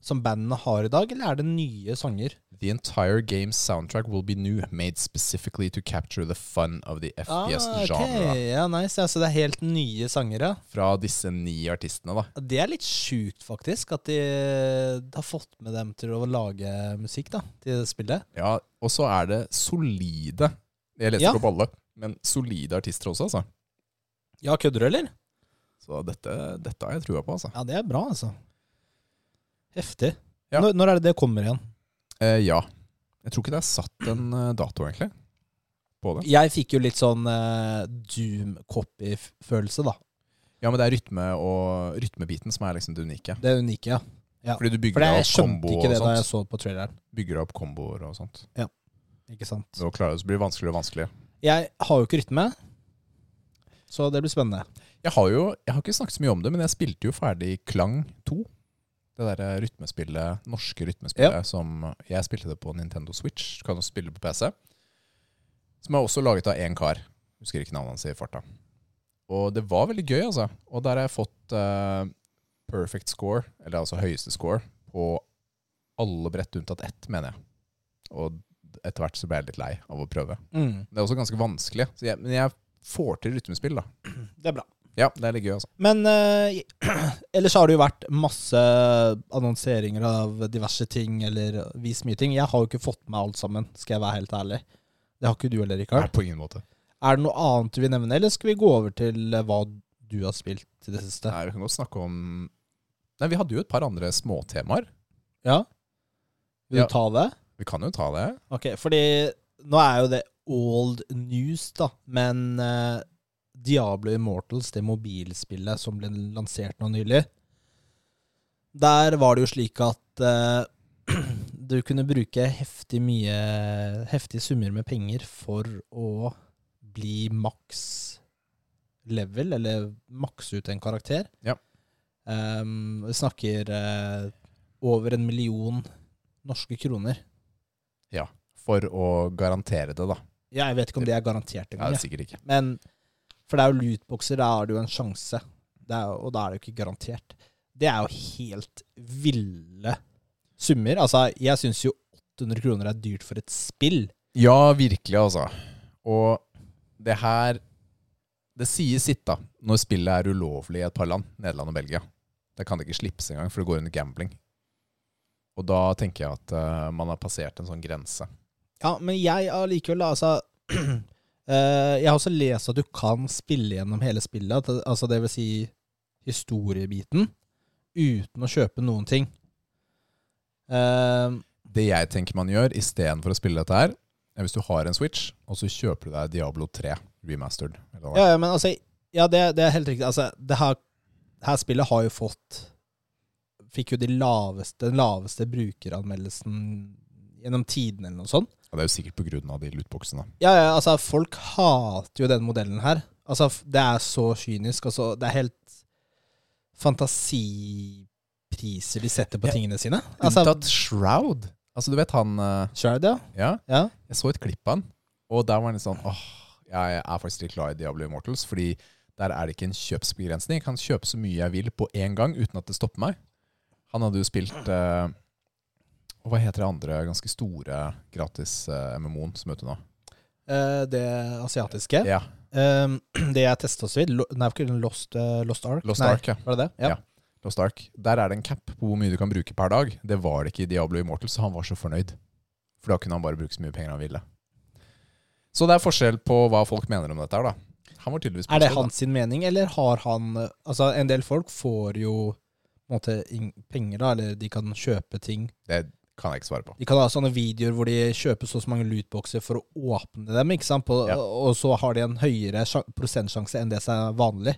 som bandene har i dag, eller er det nye sanger? The entire game's soundtrack will be new, made specifically to capture the fun of the Ah, ok. FPS-genre. Ja, nice. Ja, så det er helt nye sanger, ja. Fra disse ni artistene, da. Det er litt sjukt, faktisk, at de, de har fått med dem til å lage musikk da, til det spillet. Ja, og så er det solide Jeg leser Ja. ikke opp alle, men solide artister også, altså. Ja, kødder du, eller? Så dette, dette har jeg trua på, altså. Ja, det er bra, altså. Heftig. Ja. Når, når er det det kommer igjen? Eh, ja. Jeg tror ikke det er satt en eh, dato, egentlig, på det. Jeg fikk jo litt sånn eh, Doom-copy-følelse, da. Ja, men det er rytme og rytmebiten som er liksom det unike. Det er unike, ja. Ja, Fordi du For bygger jeg opp skjønte komboer ikke og det da jeg sånt. så på traileren. Bygger opp komboer og sånt. Ikke sant? Så, klarer, så blir det vanskeligere og vanskeligere. Jeg har jo ikke rytme, så det blir spennende. Jeg har jo jeg har ikke snakket så mye om det, men jeg spilte jo ferdig Klang 2. Det derre rytmespillet, norske rytmespillet som Jeg spilte det på Nintendo Switch. Du kan jo spille det på PC. Som er også laget av én kar. Husker ikke navnet hans i farta. Og det var veldig gøy, altså. Og der har jeg fått eh, perfect score, eller altså høyeste score, på alle brett unntatt ett, mener jeg. Og etter hvert så ble jeg litt lei av å prøve. Mm. Det er også ganske vanskelig, så jeg, men jeg får til rytmespill, da. Det er bra. Ja, det er litt gøy, altså. Men eh, ellers har det jo vært masse annonseringer av diverse ting, eller vist mye ting. Jeg har jo ikke fått med alt sammen, skal jeg være helt ærlig. Det har ikke du heller, Rikard. Nei, på ingen måte. Er det noe annet du vil nevne, eller skal vi gå over til eh, hva du har spilt i det siste? Nei, vi kan godt snakke om Nei, vi hadde jo et par andre småtemaer. Ja? Vil Ja. du ta det? Vi kan jo ta det. Ok, fordi nå er jo det old news, da. Men eh, Diablo Immortals, det mobilspillet som ble lansert nå nylig, der var det jo slik at eh, du kunne bruke heftig mye heftige summer med penger for å bli maks level, eller makse ut en karakter. Ja. Ehm, vi snakker eh, over en million norske kroner. For å garantere det, da. Ja, jeg vet ikke om det er garantert Ja, engang. jeg. det er sikkert ikke. Men for det er jo lootboxer, da har du jo en sjanse. Det er, og da er det jo ikke garantert. Det er jo helt ville summer. Altså, jeg syns jo 800 kroner er dyrt for et spill. Ja, virkelig, altså. Og det her Det sier sitt, da, når spillet er ulovlig i et par land, Nederland og Belgia. Der kan det ikke slippes engang, for det går under gambling. Og da tenker jeg at eh, man har passert en sånn grense. Ja, men jeg allikevel, altså eh, Jeg har også lest at du kan spille gjennom hele spillet, at det- altså det vil si historiebiten, uten å kjøpe noen ting. Eh, Det jeg tenker man gjør istedenfor å spille dette her, er hvis du har en Switch, og så kjøper du deg Diablo 3 remastered. Eller hva det er. Ja, ja, men altså Ja, det, det er helt riktig. Altså, det her, det her spillet har jo fått Fikk jo de laveste, den laveste brukeranmeldelsen gjennom tiden, eller noe sånt. Og det er jo sikkert på grunn av de lootboxene. Ja, ja, altså, folk hater jo den modellen her. Altså, f- det er så kynisk. Altså, det er helt fantasipriser de setter på Ja. tingene sine. Altså, Unntatt Shroud. Altså, du vet han eh, Shard, ja. Ja. Ja. Jeg så et klipp av han, og der var han litt sånn Åh, jeg er faktisk litt glad i Diablo Immortals, fordi der er det ikke en kjøpsbegrensning. Jeg kan kjøpe så mye jeg vil på én gang uten at det stopper meg. Han hadde jo spilt eh, og Hva heter det andre ganske store gratis eh, MMO-en som er ute nå? Eh, det asiatiske. Ja, Eh, det jeg testa så vidt Lo- Nei, ikke Lost, eh, Lost Ark. Lost nei, Ark, ja. Var det det? Ja. Ja. Lost Ark. Der er det en cap på hvor mye du kan bruke per dag. Det var det ikke i Diablo Immortals, så han var så fornøyd. For da kunne han bare bruke så mye penger han ville. Så det er forskjell på hva folk mener om dette her, da. Han var tydeligvis Er det positiv, da. hans sin mening, eller har han Altså, en del folk får jo på en måte ing- penger, da, eller de kan kjøpe ting. Det kan jeg ikke svare på. De kan ha sånne videoer hvor de kjøper så og så mange lootboxer for å åpne dem, ikke sant? På, Ja. og så har de en høyere sja- prosentsjanse enn det som er vanlig.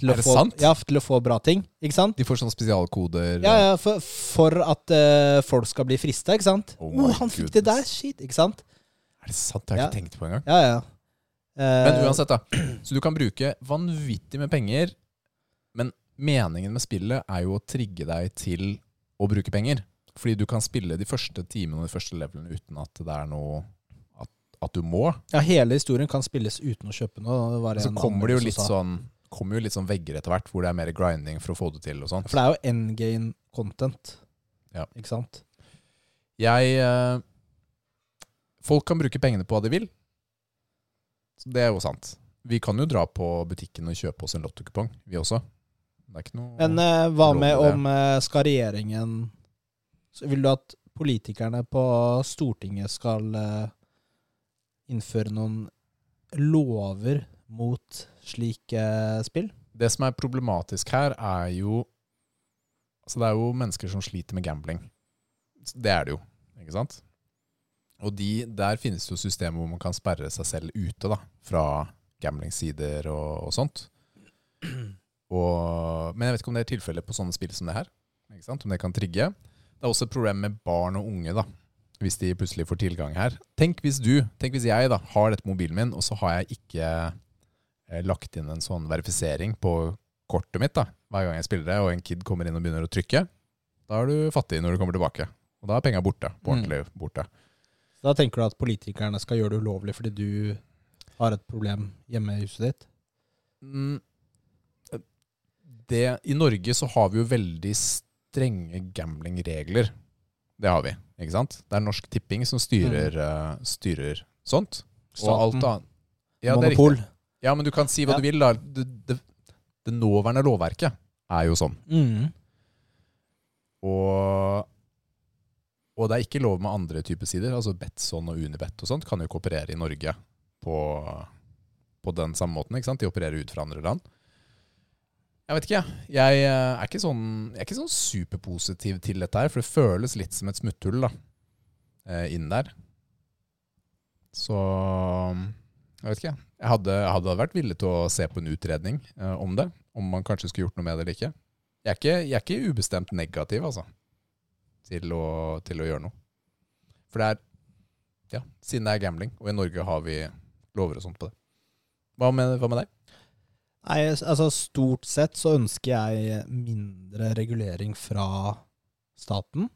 Til Er det få, sant? Ja, til å få bra ting, ikke sant? De får sånne spesialkoder. Ja, ja, for, for at eh, folk skal bli frista, ikke sant? Oh Oh, my han fikk det der, goodness. shit, ikke sant? Er det sant? Det har jeg ikke tenkt på engang. Ja, ja. Eh, Men uansett, da. Så du kan bruke vanvittig med penger, men meningen med spillet er jo å trigge deg til å bruke penger. Fordi du kan spille de første timene og de første levelene uten at det er noe at, at du må. Eh, Ja, hele historien kan spilles uten å kjøpe noe. var det Så en kommer det jo anmeldelse litt sa. sånn Kommer jo litt sånn vegger etter hvert, hvor det er mer grinding for å få det til. og sånn. sånt. For det er jo endgame content. Ja. Ikke sant? Jeg eh, Folk kan bruke pengene på hva de vil. Så Det er jo sant. Vi kan jo dra på butikken og kjøpe oss en lottokupong, vi også. Det er ikke noe Men eh, hva Lover med det. om eh, skal regjeringen så Vil du at politikerne på Stortinget skal eh, innføre noen lover mot slike spill? Det som er problematisk her, er jo Altså, det er jo mennesker som sliter med gambling. Så Det er det jo, ikke sant? Og de, der finnes det jo systemer hvor man kan sperre seg selv ute, da. Fra gamblingsider og, og sånt. Og, men jeg vet ikke om det er tilfellet på sånne spill som det her. Ikke sant? Om det kan trigge. Det er også et problem med barn og unge, da. Hvis de plutselig får tilgang her. Tenk hvis du, tenk hvis jeg da, har dette mobilen min, og så har jeg ikke eh, lagt inn en sånn verifisering på kortet mitt da, hver gang jeg spiller det, og en kid kommer inn og begynner å trykke. Da er du fattig når du kommer tilbake. Og da er penga borte. På Mm. ordentlig borte. Så da tenker du at politikerne skal gjøre det ulovlig fordi du har et problem hjemme i huset ditt? Mm. Det, I Norge så har vi jo veldig strenge gamblingregler. Det har vi, ikke sant? Det er Norsk Tipping som styrer, Mm. eh, styrer sånt. Og alt annet. Ja, det er riktig. Monopol. Ja, men du kan si hva Ja. du vil, da. Det, det, det nåværende lovverket er jo sånn. Mm. Og, og det er ikke lov med andre typer sider. Altså Betson og Unibet og sånt kan jo ikke operere i Norge på, på den samme måten. ikke sant? De opererer ut fra andre land. Jeg vet ikke, jeg. Jeg eh, er ikke sånn, jeg er ikke sånn superpositiv til dette her, for det føles litt som et smutthull da, eh, inn der. Så jeg vet ikke. jeg. Jeg hadde, jeg hadde vært villig til å se på en utredning eh, om det. Om man kanskje skulle gjort noe med det eller ikke. Jeg er ikke, jeg er ikke ubestemt negativ, altså, til å, til å gjøre noe. For det er Ja, siden det er gambling, og i Norge har vi lover og sånt på det. Hva med, hva med deg? Nei, altså stort sett så ønsker jeg mindre regulering fra staten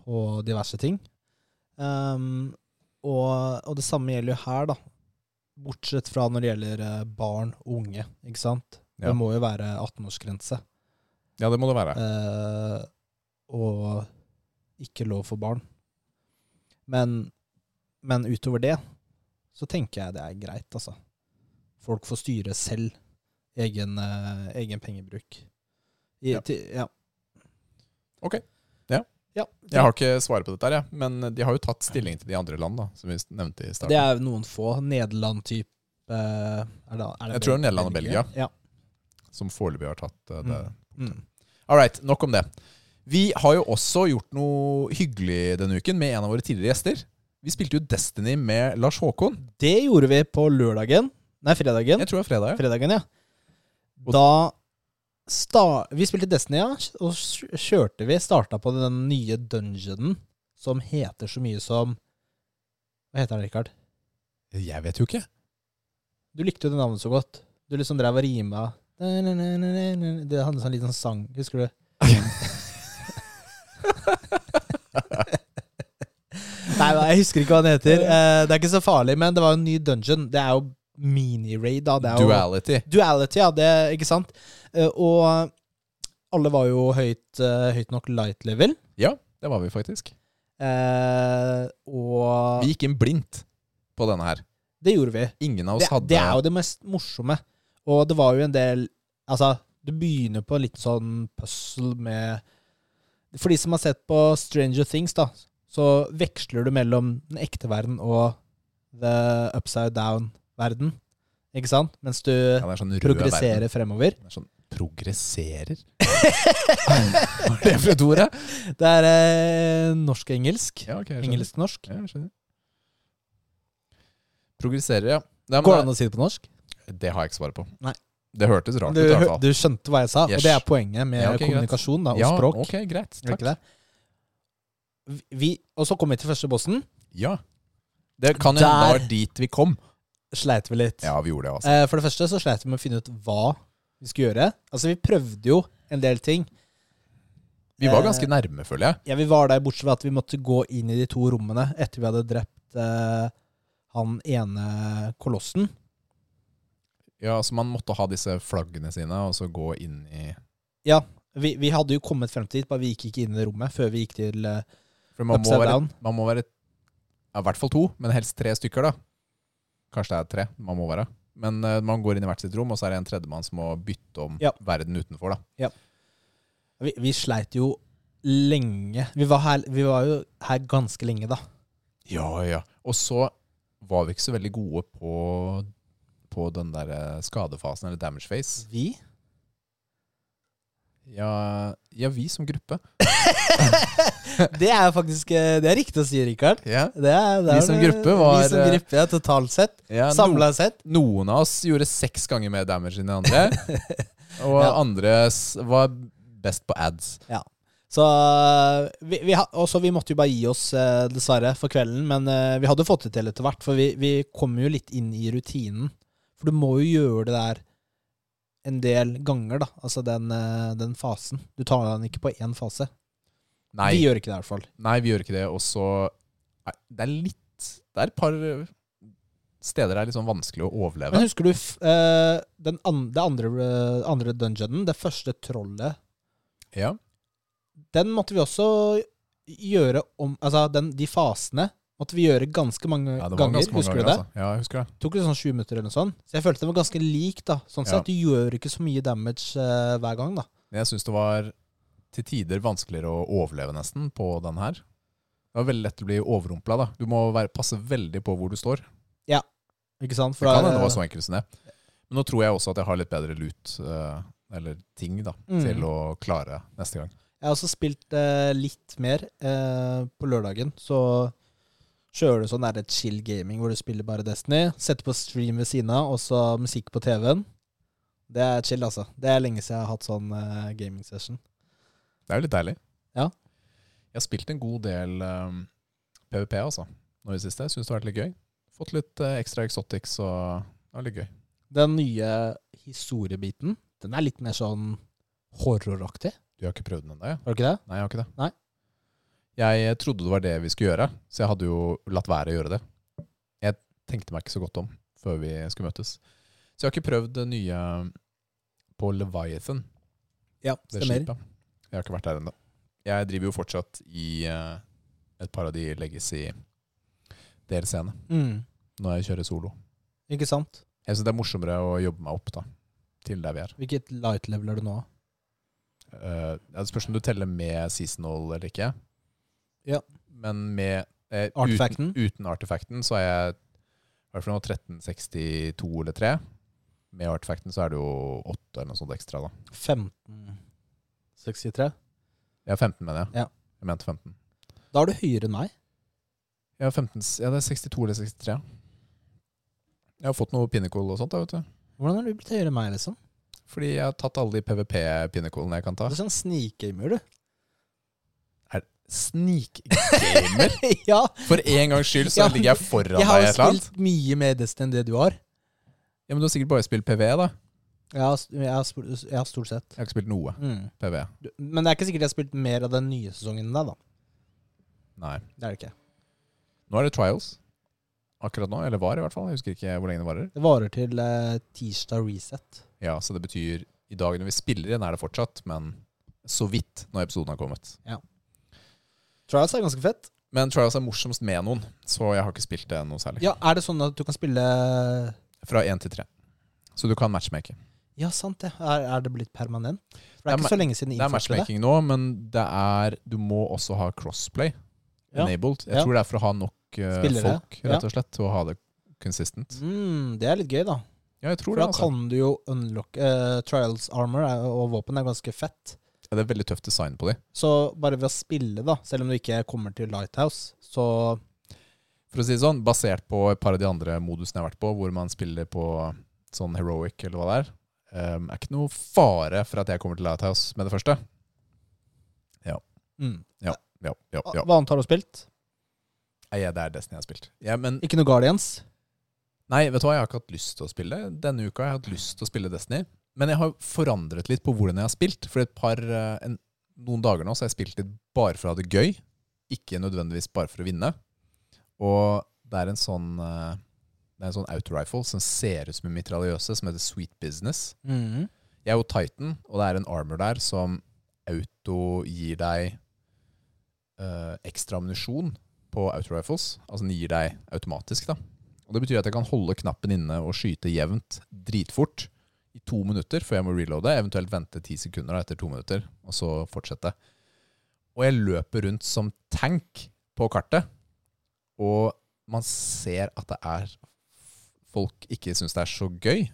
på diverse ting. Ehm, og, og det samme gjelder jo her, da. Bortsett fra når det gjelder eh, barn og unge, ikke sant. Ja. Det må jo være 18-årsgrense. Ja, det må det være. Eh, og ikke lov for barn. Men, men utover det så tenker jeg det er greit, altså. Folk får styre selv egen, eh, egen pengebruk. I, Ja. Til, ja. Ok. Ja. Ja, Jeg har ikke svaret på dette, her, jeg, men de har jo tatt stilling til de andre land, da, som vi nevnte i Det starten. er noen få. Nederland-type eh, er det- er det Jeg tror Bel- Nederland og Ja. Som foreløpig har tatt eh, det. Mm. All right, nok om det. Vi har jo også gjort noe hyggelig denne uken med en av våre tidligere gjester. Vi spilte jo Destiny med Lars Håkon. Det gjorde vi på lørdagen. Nei, fredagen. Jeg tror det var fredag. ja. Fredagen, ja. Og- Da sta Vi spilte Destiny, ja, og s- kjørte vi Starta på den nye dungeonen som heter så mye som Hva heter den, Rikard? Jeg vet jo ikke. Du likte jo det navnet så godt. Du liksom drev og rima Det hadde sånn liten sang, husker du? Nei, nei, jeg husker ikke hva den heter. Eh, Det er ikke så farlig, men det var en ny dungeon. Det er jo mini-raid, da. Det er jo, Duality. Duality, ja, det, ikke sant? Eh, Og alle var jo høyt, eh, høyt nok light level. Ja, det var vi faktisk. Eh, og Vi gikk inn blindt på denne her. det gjorde vi. Ingen av oss Det, hadde det er jo det mest morsomme. Og det var jo en del Altså, du begynner på litt sånn puzzle med For de som har sett på Stranger Things, da, så veksler du mellom den ekte verden og the upside down-verden. Ikke sant? Mens du ja, det er sånn rød verden. progresserer fremover. Det er sånn progresserer? Hva er det for et ord, da? Det er eh, norsk-engelsk. Ja, ok, jeg skjønner. Engelsk-norsk. Ja, jeg skjønner. Progresserer, ja. Nei, men Går det an å si det på norsk? det har jeg ikke svaret på. Nei. Det hørtes rart Du, ut, i hvert hø- fall. du skjønte hva jeg sa, Yes. og det er poenget med Ja, ok, greit. kommunikasjon da, og ja, språk. ok, greit. Er det Takk. ikke det? Vi- Vi, og så kom vi til første bossen. Ja. Det kan jo hende Der. det var dit vi kom. Sleit vi litt. Ja, vi gjorde det, altså. Eh, For det første så sleit vi med å finne ut hva vi skulle gjøre. Altså, vi prøvde jo en del ting. Vi var eh, ganske nærme, føler jeg. Ja, vi var der bortsett fra at vi måtte gå inn i de to rommene etter vi hadde drept eh, han ene kolossen. Ja, så Man måtte ha disse flaggene sine, og så gå inn i Vi, vi hadde jo kommet frem til dit, bare vi gikk ikke inn i det rommet før vi gikk til eh, For man må Upside være, down. man må være ja, i hvert fall to, men helst tre stykker, da. Kanskje det er tre man må være. Men eh, man går inn i hvert sitt rom, og så er det en tredjemann som må bytte om Ja. verden utenfor. da. Vi, vi sleit jo lenge. Vi var, her, vi var jo her ganske lenge, da. Ja, ja. Og så var vi ikke så veldig gode på, på den der eh, skadefasen, eller damage face. Vi? Ja, ja vi som gruppe. Det er faktisk eh, Det er riktig å si, Rikard. Ja. Det er, det er, Vi som gruppe var, eh, Vi som gruppe, ja, totalt sett. Ja, no, Samla sett. noen av oss gjorde seks ganger mer damage enn de andre. Og Ja. andre s- var best på ads. Så eh, vi, vi, ha- også, vi måtte jo bare gi oss, eh, dessverre, for kvelden. Men eh, vi hadde fått det til etter hvert, for vi, vi kom jo litt inn i rutinen. For du må jo gjøre det der en del ganger, da. Altså den, eh, den fasen. Du tar den ikke på én fase. Nei, De gjør ikke det, i hvert fall. nei, vi gjør ikke det. Og så er det er litt Det er et par øh, steder det er litt sånn vanskelig å overleve. Men husker du f eh, den an det andre, eh, andre dungeonen, det første trollet? Ja. Den måtte vi også gjøre om Altså, den, de fasene måtte vi gjøre ganske mange Ja, det var ganger. ganske mange husker du ganger, det? Altså. Ja, jeg husker det. tok det sånn 20 minutter eller noe sånt. Så jeg følte det var ganske lik, da. Sånn Ja. sett. Du gjør ikke så mye damage eh, hver gang, da. Men jeg syns det var til tider vanskeligere å overleve nesten på den her. Det var veldig lett å bli overrumpla. da. Du må være, passe veldig på hvor du står. Ikke sant? Det kan da- hende det var så enkelt som det. Men nå tror jeg også at jeg har litt bedre lut, eh, eller ting, da, Mm. til å klare neste gang. Jeg har også spilt eh, litt mer eh, på lørdagen. Så kjører du sånn der chill gaming hvor du spiller bare Destiny. Setter på stream ved siden av, og så musikk på TV-en. Det er chill, altså. Det er lenge siden jeg har hatt sånn eh, gaming session. Det er jo litt deilig. Ja. Jeg har spilt en god del eh, PVP, altså, nå i det siste. Syns det har vært litt gøy. Fått litt eh, ekstra exotics, og det var litt gøy. Den nye historiebiten, den er litt mer sånn horroraktig. Du har ikke prøvd den ennå? Ja. Har du ikke det? Nei, jeg har ikke det. Nei. Jeg eh, trodde det var det vi skulle gjøre, så jeg hadde jo latt være å gjøre det. Jeg tenkte meg ikke så godt om før vi skulle møtes. Så jeg har ikke prøvd det nye ehm, på Leviathan. Ja, Det skipet. Jeg har ikke vært der ennå. Jeg driver jo fortsatt i eh, et par av de legacy-DLC-ene Mm, når jeg kjører solo. ikke sant? Jeg syns det er morsommere å jobbe meg opp da, til der vi er. Hvilket light level er du nå? Eh, det spørs om du teller med seasonal eller ikke. Ja. Men med eh, Artefakten? Uten, uten artefakten så er jeg i hvert fall nå 1362 eller 3. Med artefakten så er det jo 8 eller noe sånt ekstra. da 1563? Jeg har 15, mener jeg. Ja. Jeg mente 15. Da er du høyere enn meg. Jeg har 15 s- ja, det er 62 eller 63. Jeg har fått noe pinnekål og sånt, da, vet du. Hvordan har du blitt høyere enn meg, liksom? Fordi jeg har tatt alle de PVP-pinnekålene jeg kan ta. Du er sånn snikgamer, du. Snikgamer! ja, For en gangs skyld så Ja, ligger jeg foran jeg har deg jo i et eller annet. spilt mye mer Destiny enn det du har. Ja, Men du har sikkert bare spilt PV, da. Jeg har, jeg har, spurt- jeg har stort sett. Jeg har ikke spilt noe E. Mm. PV. Du- Men det er ikke sikkert jeg har spilt mer av den nye sesongen enn deg, da. Nei. Det er det ikke. Nå er det trials. Akkurat nå. Eller var, i hvert fall. Jeg husker ikke hvor lenge det varer. Det varer til eh, tirsdag reset. Ja, Så det betyr i dag når vi spiller igjen, er det fortsatt, men så vidt når episoden har kommet. Trials er ganske fett. Men trials er morsomst med noen, så jeg har ikke spilt det noe særlig. Ja, Er det sånn at du kan spille Fra én til tre. Så du kan matchmake. Ja, sant det. Er, er det blitt permanent? For det Det er er ikke så lenge siden de Det er innførte det. matchmaking nå, men det er Du må også ha crossplay Ja. enabled. Jeg Ja. tror det er for å ha nok eh, Spillere. folk, Ja. rett og slett, til å ha det consistent. Mm, det er litt gøy, da. Ja, jeg tror For det. da Altså. kan du jo unlocke eh, Trials armor er, og våpen er ganske fett. Ja, det er veldig tøft design på de. Så bare ved å spille, da, selv om du ikke kommer til Lighthouse, så For å si det sånn, basert på et par av de andre modusene jeg har vært på, hvor man spiller på sånn heroic eller hva det er, um, er ikke noe fare for at jeg kommer til Lighthouse med det første. mm. Ja, ja, ja. Hva annet har du spilt? Ah. Nei, ja, det er Destiny jeg har spilt. Ja, men, Ikke noe Guardians? nei, vet du hva, jeg har ikke hatt lyst til å spille. Denne uka har jeg hatt lyst til å spille Destiny, men jeg har forandret litt på hvordan jeg har spilt. For et par, eh, en, noen dager nå så har jeg spilt litt bare for å ha det gøy, ikke nødvendigvis bare for å vinne. Og det er en sånn... eh, det er en sånn auto-rifle som ser ut som en mitraljøse, som heter Sweet Business. Mhm. Jeg er jo Titan, og det er en armor der som auto gir deg eh, ekstra ammunisjon på auto rifles. Altså den gir deg automatisk, da. Og det betyr at jeg kan holde knappen inne og skyte jevnt dritfort i to minutter før jeg må reloade, eventuelt vente ti sekunder da, etter to minutter, og så fortsette. Og jeg løper rundt som tank på kartet, og man ser at det er folk ikke syns det er så gøy.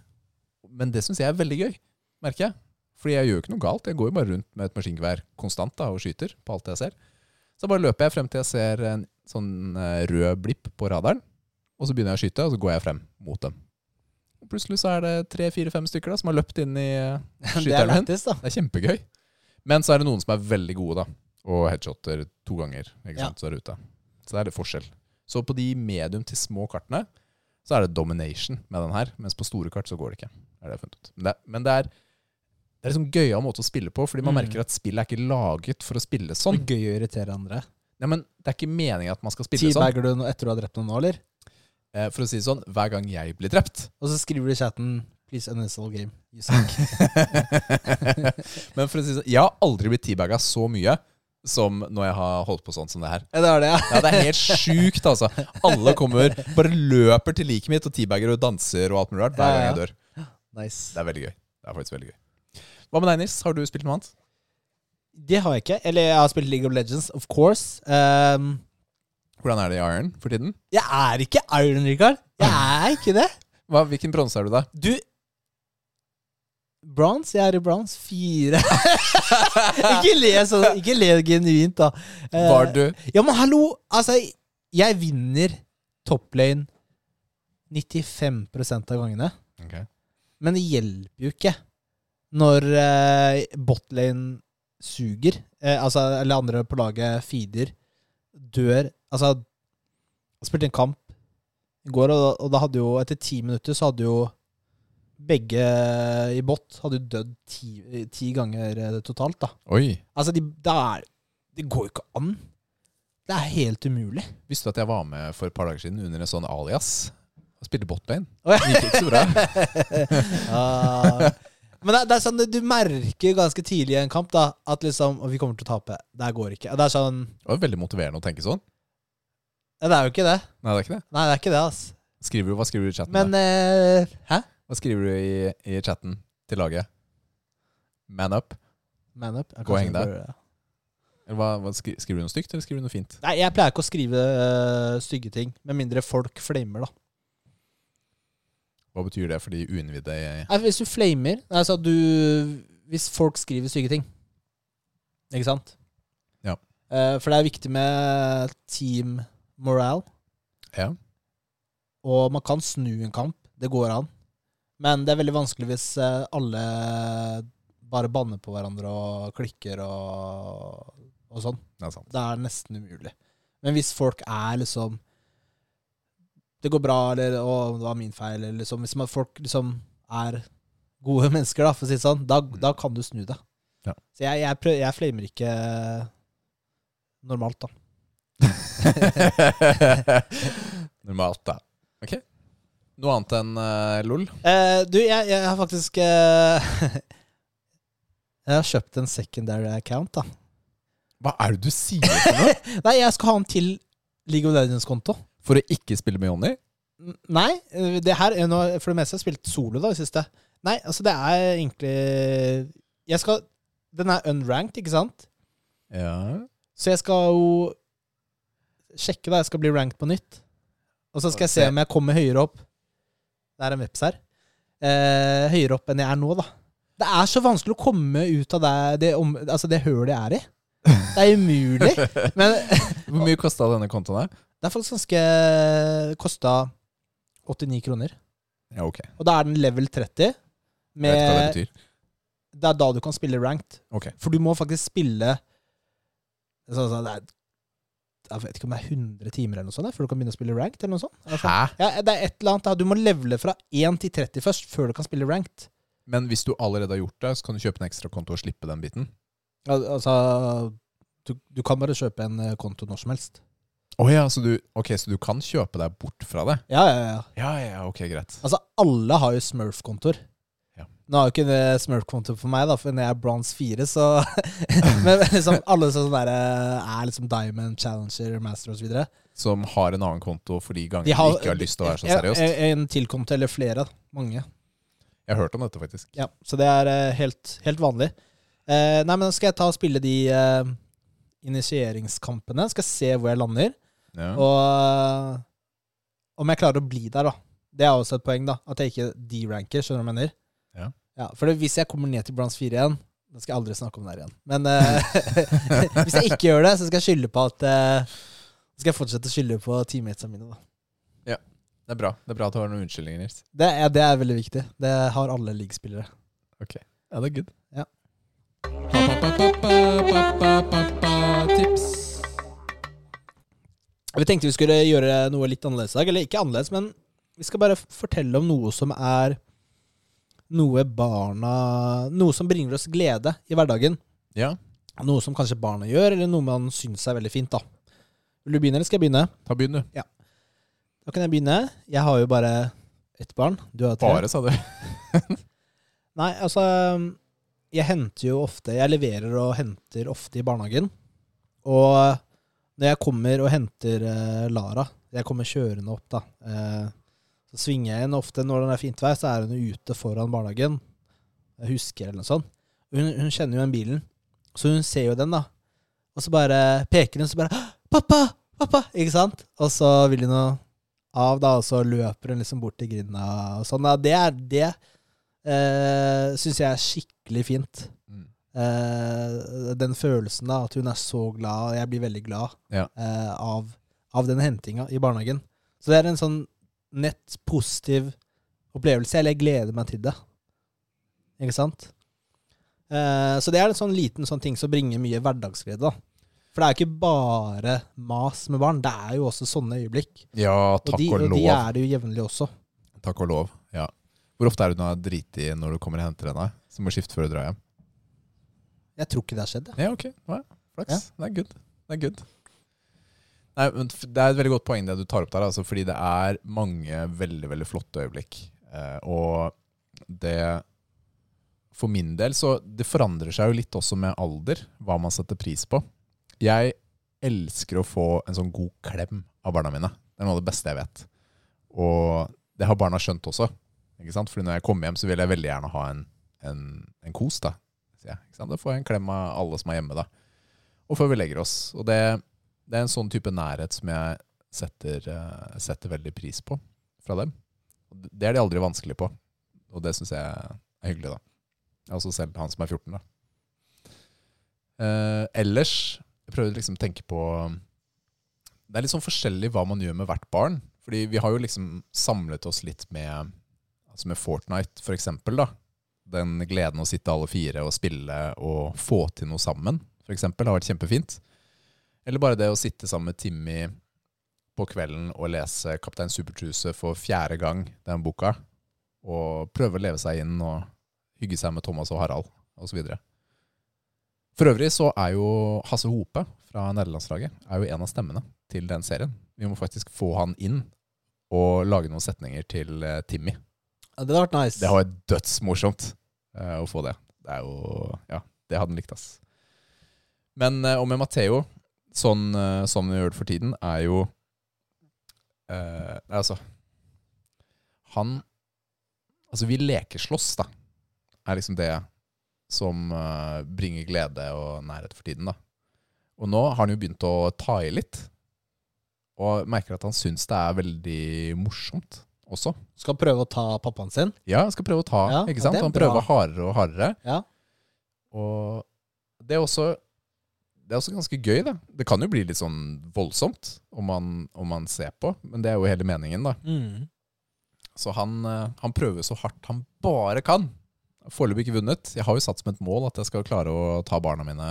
Men det syns jeg er veldig gøy merker jeg. Fordi jeg gjør jo ikke noe galt. Jeg går jo bare rundt med et maskingevær konstant da, og skyter på alt jeg ser. Så bare løper jeg frem til jeg ser en sånn eh, rød blipp på radaren, og så begynner jeg å skyte, og så går jeg frem mot dem. Og plutselig så er det tre-fire-fem stykker da, som har løpt inn i eh, Det er skyteelven. lættis, da. Det er kjempegøy. Men så er det noen som er veldig gode, da. Og headshotter to ganger. Ikke Ja. sant, Så er det ute. Så det er litt forskjell. Så på de medium til små kartene så er det domination med den her. Mens på store kart så går det ikke. Er det jeg har funnet ut. Men det, men det er Det er en sånn gøyal måte å spille på, fordi man Mm. merker at spillet er ikke laget for å spille sånn. Det er Gøy å irritere andre. Nei, men Det er ikke meningen at man skal spille sånn. Teabagger du noe etter du har drept noen nå, eller? Eh, For å si det sånn, hver gang jeg blir drept Og så skriver du i chatten 'Please uninstall game'. You suck. Men for å si det sånn, jeg har aldri blitt teabagga så mye som når jeg har holdt på sånn som det her. ja, det var det, ja. Ja, Det er helt sjukt, altså. Alle kommer, bare løper til liket mitt og teabagger og danser og alt mulig rart hver gang jeg dør. Nice. Det er veldig gøy. Det er faktisk veldig gøy. Hva med deg, Nils? Har du spilt noe annet? Det har jeg ikke. Eller jeg har spilt League of Legends, of course. Ehm, Hvordan er det i Iron for tiden? jeg er ikke Iron, Rikard. Jeg er ikke det. Hva, hvilken bronse er du, da? Du Bronze? Jeg er i bronze. Fire. ikke, le sånn, ikke le genuint, da. Eh, Var du Ja, men hallo! Altså, jeg vinner topplane 95 av gangene. Ok. Men det hjelper jo ikke når eh, botlane suger, eh, altså, eller andre på laget feeder, dør Altså, jeg spilte en kamp i går, og, og da hadde jo etter ti minutter så hadde jo begge i bot hadde jo dødd ti, ti ganger eh, totalt, da. Oi. Altså, de, da er, det går jo ikke an. Det er helt umulig. Visste du at jeg var med for et par dager siden under en sånn alias? Og spilte botlane? Å, ja. Det gikk ikke så bra. Ah. Men det, det er sånn du merker ganske tidlig i en kamp da at liksom «Å, vi kommer til å tape. Det her går ikke. Det er sånn Det var veldig motiverende å tenke sånn. ja, Det er jo ikke det. Nei, det er ikke det. Nei, det er ikke det, ass. Skriver du, hva skriver du i chatten? Men da? eh, Hæ? Hva skriver du i, i chatten til laget? Man up? Man up. Jeg Gå og heng kanskje deg. bør gjøre det. Eller hva, hva, skri, skriver du noe stygt, eller skriver du noe fint? Nei, jeg pleier ikke å skrive eh, stygge ting. Med mindre folk flamer, da. Hva betyr det for de uinnvidde? i- Nei, hvis du flamer Altså, du Hvis folk skriver stygge ting. Ikke sant? Ja. Eh, for det er viktig med team morale. Ja. Og man kan snu en kamp. Det går an. Men det er veldig vanskelig hvis eh, alle bare banner på hverandre og klikker og, og sånn. Det er sant. Det er nesten umulig. Men hvis folk er liksom Det går bra, eller å, det var min feil, eller liksom Hvis man, folk liksom er gode mennesker, da, for å si det sånn, da, da kan du snu det. Ja. Så jeg, jeg, prøv, jeg flamer ikke normalt, da. Normalt, da. Ok. Noe annet enn eh, LOL? Eh, du, jeg, jeg har faktisk eh, Jeg har kjøpt en secondary account, da. Hva er det du sier for noe? Nei, jeg skal ha en til League of Legends-konto. For å ikke spille med Jonny? N- Nei, eh, det her er noe, for det meste har jeg spilt solo da, i siste. Nei, altså det er egentlig Jeg skal Den er unranked, ikke sant? Ja. Så jeg skal jo sjekke, da. Jeg skal bli ranked på nytt. Og så skal jeg se om jeg kommer høyere opp. Det er en veps her. Eh, høyere opp enn jeg er nå, da. Det er så vanskelig å komme ut av det, det, om, altså det hølet jeg er i. Det er umulig. Men Hvor mye kosta denne kontoen? her? det er faktisk ganske Kosta 89 kroner. Ja, ok. Jeg Og da er den level 30. vet ikke hva det Med, det, betyr. er da du kan spille ranked. Ok. For du må faktisk spille sånn, sånn, det er, Jeg vet ikke om det er 100 timer eller noe sånt, før du kan begynne å spille ranked. Eller noe sånt. Er det sånn? Hæ? Ja, det er et eller annet da. Du må levele fra 1 til 30 først, før du kan spille ranked. Men hvis du allerede har gjort det, så kan du kjøpe en ekstra konto og slippe den biten? Al- Altså du, du kan bare kjøpe en eh, konto når som helst. Å ja, så du, ok, så du kan kjøpe deg bort fra det? Ja, ja, ja. Ja, ja, ja, ok, greit. Altså, alle har jo Smurf-kontor. Ja. Nå har jo ikke det Smurf-kontor for meg, da, for når jeg er bronse 4, så Men liksom, alle som sånn der, eh, er liksom Diamond, Challenger, Master osv. De Som har en annen konto for de gangene du ikke har lyst til å være så seriøst. En, en tilkommet, eller flere. da. Mange. Jeg har hørt om dette, faktisk. Ja, Så det er eh, helt, helt vanlig. Eh, nei, men nå skal jeg ta og spille de eh, initieringskampene. Skal se hvor jeg lander. Ja. Og eh, om jeg klarer å bli der, da. Det er også et poeng, da. At jeg ikke deranker, skjønner du hva jeg mener? Ja. for det, hvis jeg kommer ned til Browns 4 igjen, da skal jeg aldri snakke om det her igjen. Men eh, hvis jeg ikke gjør det, så skal jeg skylde på at eh, så skal jeg fortsette å skylde på teammatesa mine, da. Det er bra Det er bra at du har noen unnskyldninger, Nils. Det er, det er veldig viktig. Det har alle leaguespillere. Ja, det er good. Ja. Tips. Vi tenkte vi skulle gjøre noe litt annerledes i dag. Eller ikke annerledes, men vi skal bare f- fortelle om noe som er noe barna Noe som bringer oss glede i hverdagen. Ja, Noe som kanskje barna gjør, eller noe man syns er veldig fint. da. Vil du begynne, eller skal jeg begynne? ta begynn, du. Da kan jeg begynne. Jeg har jo bare ett barn. Du har tre. Bare, sa du. Nei, altså Jeg henter jo ofte Jeg leverer og henter ofte i barnehagen. Og når jeg kommer og henter eh, Lara Jeg kommer kjørende opp, da. eh, så svinger jeg henne ofte. Når det er fint vær, så er hun ute foran barnehagen. Jeg husker eller noe sånt. Hun, hun kjenner jo den bilen, så hun ser jo den, da. Og så bare peker hun, så bare «Hå! 'Pappa! Pappa!' Ikke sant? Og så vil hun noe av, da, og så løper hun liksom bort til grinda og sånn. da. Det er det eh, syns jeg er skikkelig fint. Mm. Eh, den følelsen da, at hun er så glad, og jeg blir veldig glad Ja. eh, av, av den hentinga i barnehagen. Så det er en sånn nett positiv opplevelse, eller jeg gleder meg til det. Ikke sant? Eh, så det er en sånn liten sånn ting som bringer mye hverdagsglede, da. For det er jo ikke bare mas med barn, det er jo også sånne øyeblikk. Ja, Og, takk de, og og de lov. er det jo jevnlig også. Takk og lov, ja. Hvor ofte er det du har driti når du kommer og henter henne? Som må skifte før du drar hjem? Jeg tror ikke det har skjedd. jeg. Ja, ok. Ja, flaks. Det er good. Det er good. Nei, men f- det er et veldig godt poeng det du tar opp der, altså, fordi det er mange veldig, veldig flotte øyeblikk. Eh, og det For min del så det forandrer seg jo litt også med alder, hva man setter pris på. Jeg elsker å få en sånn god klem av barna mine. Det er noe av det beste jeg vet. Og det har barna skjønt også. Ikke sant? Fordi når jeg kommer hjem, så vil jeg veldig gjerne ha en, en, en kos. da sier jeg. Ikke sant? Da får jeg en klem av alle som er hjemme, da. Og før vi legger oss. Og det, det er en sånn type nærhet som jeg setter, eh, setter veldig pris på fra dem. Og det- Det er de aldri vanskelig på, og det syns jeg er hyggelig, da. Jeg er også selv han som er 14, da. Eh, ellers Jeg prøvde liksom å tenke på Det er litt sånn forskjellig hva man gjør med hvert barn. Fordi vi har jo liksom samlet oss litt med Altså med Fortnite, for eksempel, da den gleden å sitte alle fire og spille og få til noe sammen, f.eks., har vært kjempefint. Eller bare det å sitte sammen med Timmy på kvelden og lese 'Kaptein Supertruse' for fjerde gang, den boka, og prøve å leve seg inn og hygge seg med Thomas og Harald osv. For øvrig så er jo Hasse Hope fra nederlandslaget er jo en av stemmene til den serien. Vi må faktisk få han inn og lage noen setninger til eh, Timmy. Ja, det hadde vært nice. Det har vært dødsmorsomt eh, å få det. Det er jo Ja, det hadde han likt, ass. Men eh, og med Matheo, sånn eh, som vi gjør det for tiden, er jo eh, Altså Han Altså, vi lekeslåss, da. Er liksom det som eh, bringer glede og nærhet for tiden, da. Og nå har han jo begynt å ta i litt. Og merker at han syns det er veldig morsomt også. Skal prøve å ta pappaen sin. Ja, han skal prøve å ta. Ja, ikke ja, sant? det er Han bra. prøver hardere og hardere. Ja. Og det er også det er også ganske gøy, da. Det kan jo bli litt sånn voldsomt om man, om man ser på, men det er jo hele meningen, da. Mm. Så han, eh, han prøver så hardt han bare kan. Foreløpig ikke vunnet. Jeg har jo satt som et mål at jeg skal klare å ta barna mine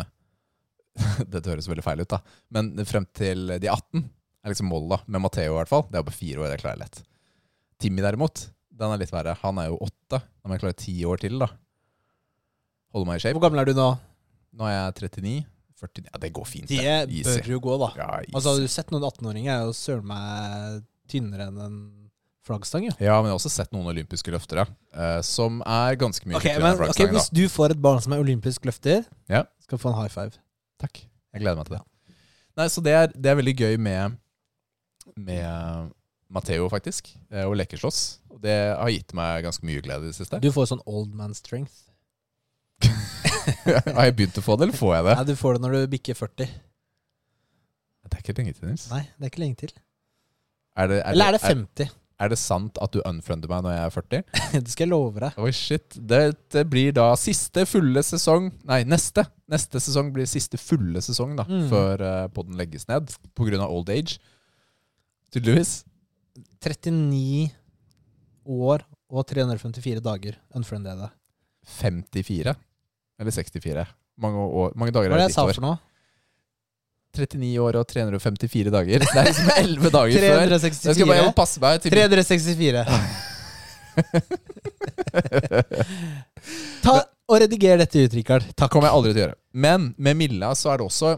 Dette høres veldig feil ut, da. Men frem til de er 18 er liksom målet, da. Med Matheo i hvert fall. Det er jo på fire år, det klarer jeg lett. Timmy derimot, den er litt verre. Han er jo åtte. Da må jeg klare ti år til, da. Holde meg i shape. Hvor gammel er du nå? Nå er jeg 39. 49 Ja, det går fint. Det Easy. bør jo gå, da. Ja, easy. Altså, har du sett noen 18-åringer er jo søren meg tynnere enn en flaggstang, jo. ja, men jeg har også sett noen olympiske løfter, ja. Eh, som er ganske mye Ok, hyggeligere enn men, ok, flaggstangen, da. Hvis du får et barn som er olympisk løfter, Ja. skal du få en high five. Takk. Jeg gleder meg til det. Nei, så det er, det er veldig gøy med, med Matheo, faktisk, eh, og lekeslåss. Og Det har gitt meg ganske mye glede i det siste. Du får sånn old man strength. har jeg begynt å få det, eller får jeg det? Nei, Du får det når du bikker 40. Det er ikke lenge til, Nils. Nei, det er ikke lenge til. Er det, er, Eller er det, det 50? er, er det sant at du unfriender meg når jeg er 40? det skal jeg love deg. Oi, shit. Dette blir da siste fulle sesong Nei, neste. Neste sesong blir siste fulle sesong da, Mm. før eh, podden legges ned pga. old age. Tydeligvis. 39 år og 354 dager unfriended jeg deg. 54 eller 64. Mange, år, mange dager Hva var er det jeg det ditt sa år. for noe? 39 år og 354 dager. Det er liksom 11 dager før. Jeg skal bare jeg 364. må passe meg til 364. Ta og Rediger dette ut, Rikard. Det kommer jeg aldri til å gjøre. Men med Milla så er det også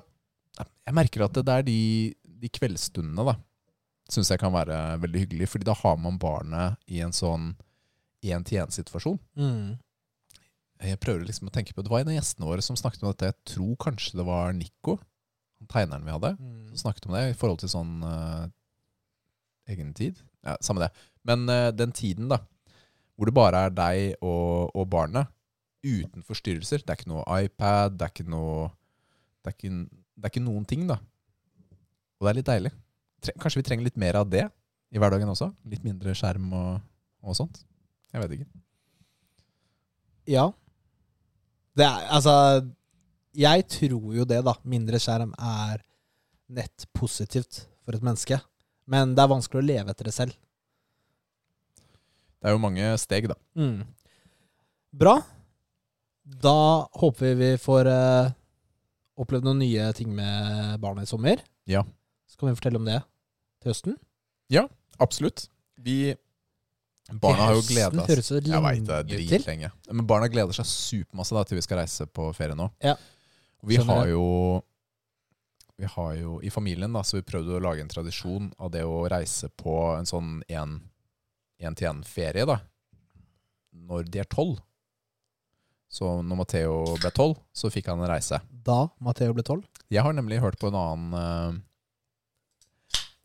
Jeg merker at det der de, de kveldsstundene da syns jeg kan være veldig hyggelig, fordi da har man barnet i en sånn én-til-én-situasjon. Mm. Jeg prøver liksom å tenke på Det var en av gjestene våre som snakket om dette. Jeg tror kanskje det var Nico, han tegneren vi hadde, som snakket om det i forhold til sånn eh, egen tid. Ja, samme det. Men eh, den tiden, da, hvor det bare er deg og, og barnet, uten forstyrrelser Det er ikke noe iPad, det er ikke noe Det er ikke, det er ikke noen ting, da. Og det er litt deilig. Tre, kanskje vi trenger litt mer av det i hverdagen også? Litt mindre skjerm og, og sånt? Jeg vet ikke. Ja. Det er Altså, jeg tror jo det, da. Mindre skjerm er nett positivt for et menneske. Men det er vanskelig å leve etter det selv. Det er jo mange steg, da. Mm. Bra. Da håper vi vi får eh, opplevd noen nye ting med barna i sommer. Ja. Så kan vi fortelle om det til høsten. Absolutt. Vi Barna har jo gleda seg. Høres så Jeg vet det, lenge ut til. dritlenge. Men barna gleder seg supermasse da, til vi skal reise på ferie nå. Ja. Og Vi Skjønner har det. jo Vi har jo i familien da, så vi prøvde å lage en tradisjon av det å reise på en sånn én-til-én-ferie da, når de er tolv. Så når Matheo ble tolv, så fikk han en reise. Da Matheo ble tolv. Jeg har nemlig hørt på en annen eh,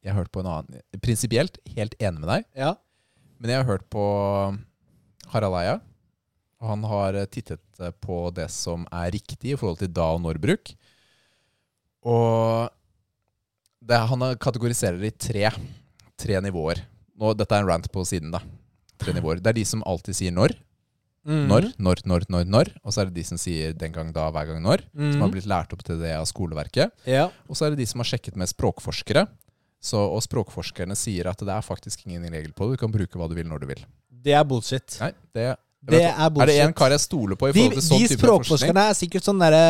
Jeg har hørt på en annen Prinsipielt helt enig med deg. Ja. Men jeg har hørt på um, Harald Eia. Og han har eh, tittet eh, på det som er riktig i forhold til da- og når-bruk. Og det, han har- kategoriserer det i tre, tre nivåer. Nå, dette er en rant på siden, da. Tre nivåer. Det er de som alltid sier når. Mm. Når, når, når, når. når Og så er det de som sier den gang, da, hver gang, når. Som har blitt lært opp til det av skoleverket. Mm. Ja. Og så er det de som har sjekket med språkforskere. Så, og språkforskerne sier at det er faktisk ingen regel på det. Du kan bruke hva du vil når du vil. Det er bullshit. Nei, det jeg Det vet, er Er det bullshit. en kar jeg stoler på i de forhold til sånn de type forskning? språkforskerne er sikkert sånn derre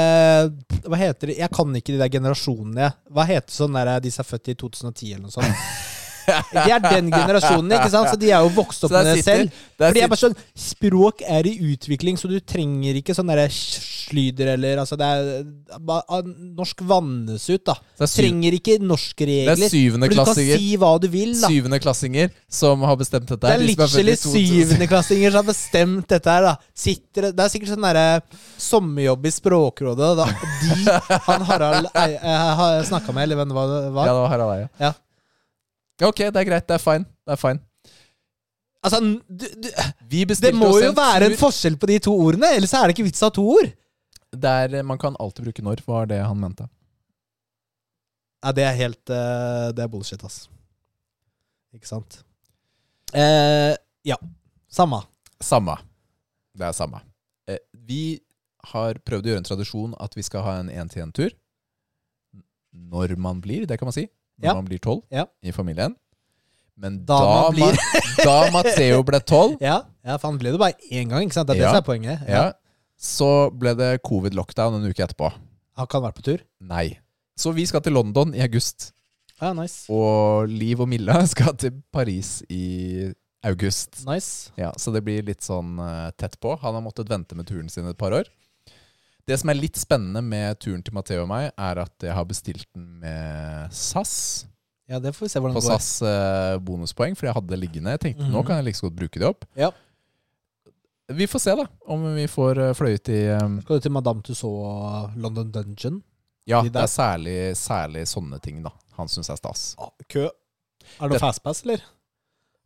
Hva heter de? Jeg kan ikke de der generasjonene. Hva heter sånn derre de som er født i 2010 eller noe sånt? De er den generasjonen, ikke sant? Så de er jo vokst opp Så der med det sitter- selv. der Fordi jeg sitter- bare sånn Språk er i utvikling, så du trenger ikke sånn derre slyder eller Altså, det er ba- Norsk vannes ut, da. Det er syv- Trenger ikke norskregler. Det er syvende For Du klassiker. kan si hva du vil, da. Syvendeklassinger som har bestemt dette. Det er her, de som født i literally 2000. syvendeklassinger som har bestemt dette her, da. Sitter, det er sikkert sånn derre sommerjobb i Språkrådet, da. De han Harald Ei- eh, snakka med, eller hvem det var, det Ja, var. det var Harald Eia. Ja. Ok, det er greit. Det er fine. Det er fine. Altså, n- du, du, Vi det bestilte må oss jo en være en tur forskjell på de to ordene, ellers er det ikke vits av to ord. der man kan alltid bruke når, var det han mente. Ja, det er helt eh, Det er bullshit, ass. Ikke sant? Eh, ja. Samme. Samme. Det er samme. Eh, vi har prøvd å gjøre en tradisjon at vi skal ha en én-til-én-tur. Når man blir, det kan man si. Når Ja. man blir tolv Ja. i familien. Men da, Da man blir. Ma- da Matheo ble tolv, Ja, ja for han ble det bare én gang, ikke sant? Det er Ja. det som er poenget. ja, så ble det covid-lockdown en uke etterpå. Har ikke han vært på tur? Nei. Så vi skal til London i august. Ja, nice. Og Liv og Milla skal til Paris i august. Nice. Ja, Så det blir litt sånn eh, tett på. Han har måttet vente med turen sin et par år. Det som er litt spennende med turen til Matheo og meg, er at jeg har bestilt den med SAS. Ja, det får vi se hvordan På det går. SAS eh, bonuspoeng, fordi jeg hadde det liggende. Jeg tenkte nå Mhm. kan jeg like så godt bruke det opp. Ja. Vi får se, da, om vi får eh, fløyet i eh, Skal du til Madame Tussauds og London Dungeon? Ja, De det der. er særlig, særlig sånne ting, da. Han syns er stas. Ah, kø. Er det noe fastpass, eller?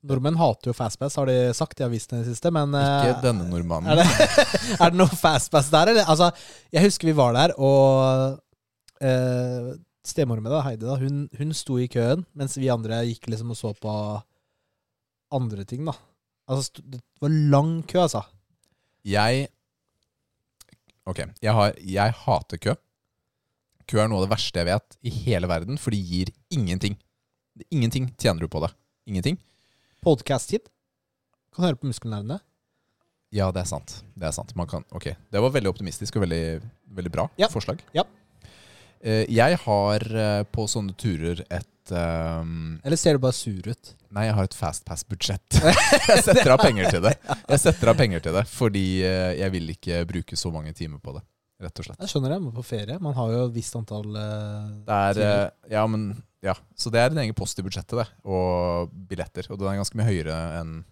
Nordmenn hater jo fastpass, har de sagt i avisene i det siste, men eh, Ikke denne nordmannen. er det, er det noe fastpass der, eller? Altså, jeg husker vi var der, og eh, stemoren min, da, Heidi, da, hun, hun sto i køen, mens vi andre gikk liksom og så på andre ting, da. Altså, st- det var lang kø, altså. Jeg Ok, jeg, har, jeg hater kø. Kø er noe av det verste jeg vet i hele verden, for det gir ingenting. Ingenting tjener du på det. Ingenting. Podcast-tid. Kan høre på muskelnervene. Ja, det er sant. Det er sant. Man kan, ok, det var veldig optimistisk og veldig, veldig bra Ja. forslag. Ja. Eh, Jeg har eh, på sånne turer et et ehm, Eller ser du bare sur ut? Nei, jeg har et Fastpass-budsjett. Jeg setter av penger til det. Jeg setter av penger til det, fordi eh, jeg vil ikke bruke så mange timer på det, rett og slett. Jeg skjønner det, man er på ferie. Man har jo et visst antall eh, Det er, timer. eh, ja, men, ja. Så det er en egen post i budsjettet, det, og billetter. Og den er ganske mye høyere enn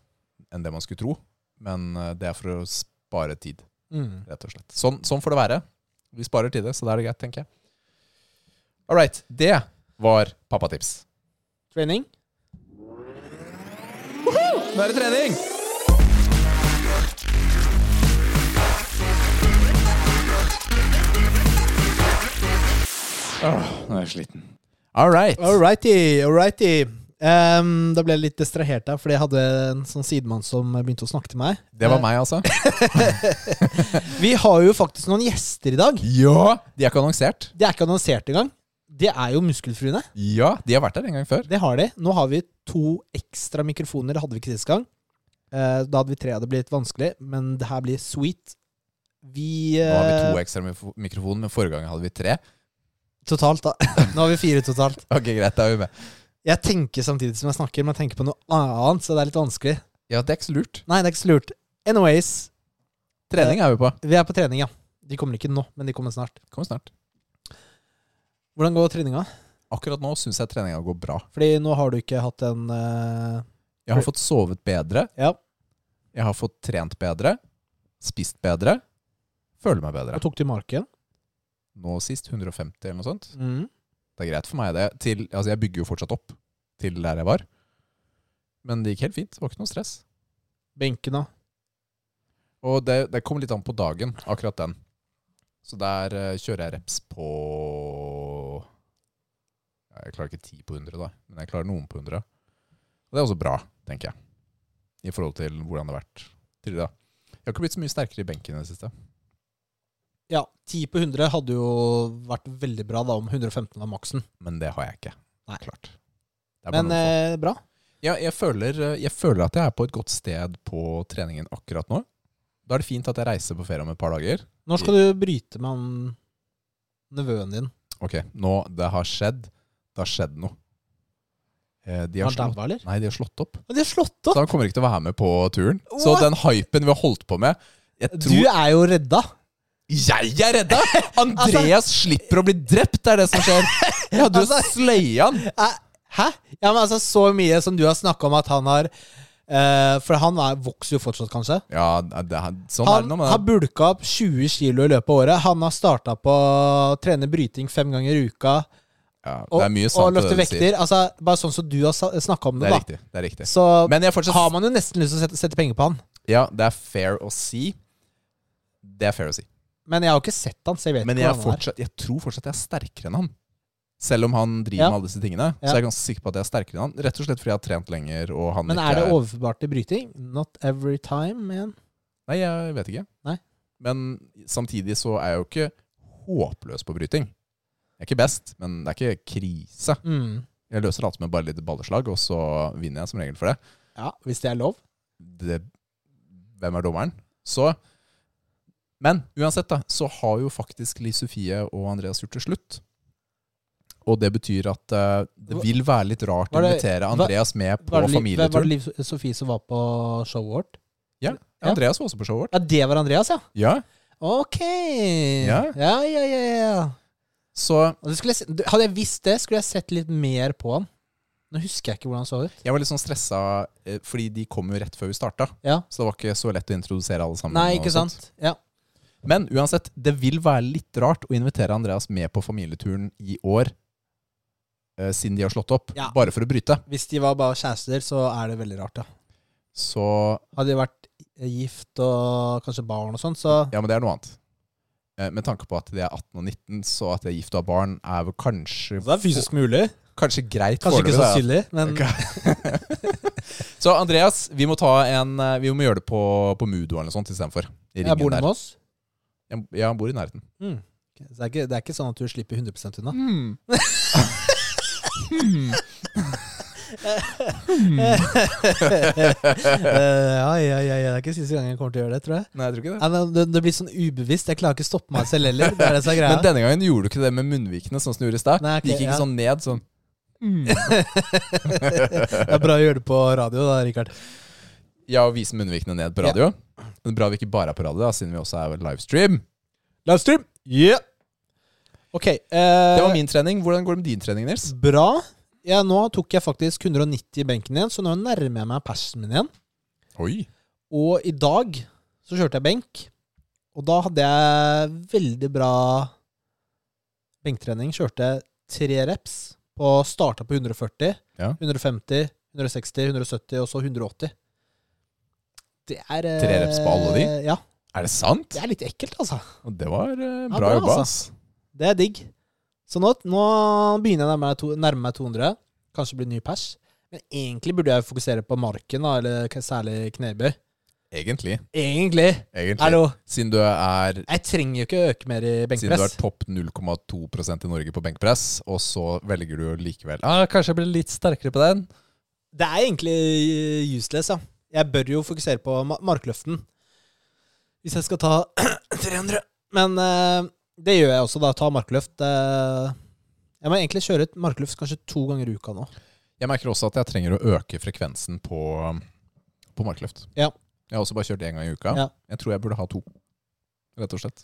enn det man skulle tro, men eh, det er for å spare tid, Mm. rett og slett. Sånn, sånn får det være. Vi sparer tid, så da er det greit, tenker jeg. All right. Det var pappatips. Trening? Nå er det trening! nå er jeg sliten. All right. All righty, all righty. Em, da ble jeg litt distrahert der, fordi jeg hadde en sånn sidemann som begynte å snakke til meg. Det var meg, altså. Vi har jo faktisk noen gjester i dag. Ja! De er ikke annonsert. De er ikke annonsert engang. Det er jo Muskelfruene. Ja, De har vært der en gang før. Det har de. Nå har vi to ekstra mikrofoner. Det hadde vi ikke sist gang. Eh, Da hadde vi tre. Det blir litt vanskelig, men det her blir sweet. Vi, Nå har vi to eh, ekstra mif- mikrofoner, men forrige gang hadde vi tre. Totalt, da. Nå har vi fire totalt. Ok, greit, da er vi med. Jeg tenker samtidig som jeg snakker, men jeg tenker på noe annet, så det er litt vanskelig. Ja, det er ikke så lurt. Nei, det er ikke så lurt. Anyways, Trening er vi på. vi er på trening, ja. De kommer ikke nå, men de kommer snart. Kommer snart. Hvordan går treninga? Akkurat nå syns jeg treninga går bra. Fordi nå har du ikke hatt en eh, Jeg har fått sovet bedre. Ja, Jeg har fått trent bedre. Spist bedre. Føler meg bedre. og tok du marken? nå sist 150 eller noe sånt. Mm. Det er greit for meg, det. Til, altså jeg bygger jo fortsatt opp til der jeg var. Men det gikk helt fint. Det var ikke noe stress. Benken, da? Og det, det kom litt an på dagen, akkurat den. Så der eh, kjører jeg reps på ja, Jeg klarer ikke 10 på 100, da, men jeg klarer noen på 100. Og det er også bra, tenker jeg, i forhold til hvordan det har vært tidligere. da. Jeg har ikke blitt så mye sterkere i benken i det siste. Ja, 10 på 100 hadde jo vært veldig bra da om 115 var maksen. Men det har jeg ikke. Nei. Klart. Det er bare Men noe eh, for- bra. Ja, jeg føler, eh, jeg føler at jeg er på et godt sted på treningen akkurat nå. Da er det fint at jeg reiser på ferie om et par dager. Når skal du bryte med han nevøen din? Ok, nå det har skjedd. Det har skjedd noe. Eh, De Er har, Han slått, daua, eller? nei, de har slått opp. Ja, De har slått Så opp! han kommer ikke til å være med på turen. Så What? den hypen vi har holdt på med jeg Du tror er Altså- jo redda. Jeg er redda! Andreas slipper å bli drept, det er det som skjer. Jeg hadde jo Altså- sløya han. Eh, Hæ? Ja, men altså, så mye som du har snakka om at han har eh, For han er, vokser jo fortsatt, kanskje. Ja, det, er- sånn er Han det nå. har Men bulka opp 20 kilo i løpet av året. Han har starta på å trene bryting fem ganger i uka. ja, Og, det er mye og sant i løfte det du sier. vekter. Altså, bare sånn som du har snakka om Det det, er da. riktig. Det er riktig. Så Men jeg er fortsatt har man jo nesten lyst til å sette, sette penger på han. Ja, det er fair å si. Det er fair å si. Men jeg har jo ikke sett han, så jeg vet Men ikke hva jeg, er han er. fortsatt, jeg tror fortsatt jeg er sterkere enn han. Selv om han driver Ja. med alle disse tingene, Ja. så er jeg ganske sikker på at jeg er sterkere enn han. Rett og slett fordi jeg har trent lenger, og han Men ikke er det overførbart til bryting? Not every time, man. Nei, jeg vet ikke. Nei. Men samtidig så er jeg jo ikke håpløs på bryting. Jeg er ikke best, men det er ikke krise. Mm. Jeg løser alt med bare litt balleslag, og så vinner jeg som regel for det. Ja, hvis det er lov. det Hvem er dommeren? Så Men uansett, da, så har jo faktisk Li Sofie og Andreas gjort det slutt. Og det betyr at eh, det Hva- vil være litt rart å Var det- invitere hva- Andreas med på Var det, Liv, var det familietur. Liv Sofie som var på showet vårt? Ja, ja. Andreas var også på showet vårt. Ja, det var Andreas, ja. Ja. Ok. Ja. ja, ja, ja. ja. Så Og du skulle, se- du- hadde jeg visst det, skulle jeg sett litt mer på han. Nå husker jeg ikke hvordan han så ut. jeg var litt sånn stressa, eh, fordi de kom jo rett før vi starta. Ja. Så det var ikke så lett å introdusere alle sammen. Nei, og ikke sånt. sant? Ja. Men uansett, det vil være litt rart å invitere Andreas med på familieturen i år, eh, siden de har slått opp, Ja. bare for å bryte. Hvis de var bare kjærester, så er det veldig rart, ja. Så Hadde de vært gift og kanskje barn og sånn, så Ja, men det er noe annet. Eh, Med tanke på at de er 18 og 19, så at de er gift og har barn, er vel kanskje mulig. Kanskje greit Kanskje ikke foreløpig, sannsynlig, men da. så Andreas, vi må ta en eh, Vi må gjøre det på, på Mudo eller noe sånt istedenfor. I jeg bor med ringen der. oss. Jeg- Ja, han bor i nærheten. Mm. Så det er, ikke, det er ikke sånn at du slipper 100 unna. Eh, ja, ja, ja, ja, det er ikke siste gangen jeg kommer til å gjøre det, tror jeg. Nei, jeg tror ikke det. Nei, men det, det blir sånn ubevisst. Jeg klarer ikke å stoppe meg selv heller. Det er det som er greia. Men denne gangen gjorde du ikke det med munnvikene, sånn som du gjorde i stad. Nei, ok, Det gikk ikke ja. sånn ned, sånn det er bra å gjøre det på radio, da, Rikard. Ja, og vise munnvikene ned på radio. Det er bra vi ikke bare er på radio, da, siden vi også er livestream. Livestream! Yeah! Eh. Ok. Eh, Det var min trening. Hvordan går det med din trening, Nils? Bra. Ja, nå tok jeg faktisk 190 i benken igjen, så nå nærmer jeg meg persen min igjen. Oi. Og i dag så kjørte jeg benk, og da hadde jeg veldig bra benktrening. Kjørte tre reps på starta på 140, Ja. 150, 160, 170 og så 180. Det er eh, Tre reps på alle de? Ja. Er det sant? Det er litt ekkelt, altså. Og Det var eh, Ja, bra bra, jobba, altså. ass. Det er digg. Så nå, nå begynner jeg å nærme meg to- nærme meg 200. Kanskje bli ny pers. Men egentlig burde jeg fokusere på marken, da, eller k- særlig knebøy. Egentlig. Egentlig! Egentlig. Hallo! Siden du er Jeg trenger jo ikke øke mer i Siden du er benkpress. topp 0,2 i Norge på benkpress, og så velger du jo likevel ah, Kanskje jeg blir litt sterkere på den? Det er egentlig eh, useless, ja. Jeg bør jo fokusere på ma- markløften. Hvis jeg skal ta 300. Men eh, det gjør jeg også, da. Ta markløft. eh. Jeg må egentlig kjøre et markløft kanskje to ganger i uka nå. Jeg merker også at jeg trenger å øke frekvensen på, på markløft. Ja. Jeg har også bare kjørt én gang i uka. Ja. Jeg tror jeg burde ha to, rett og slett.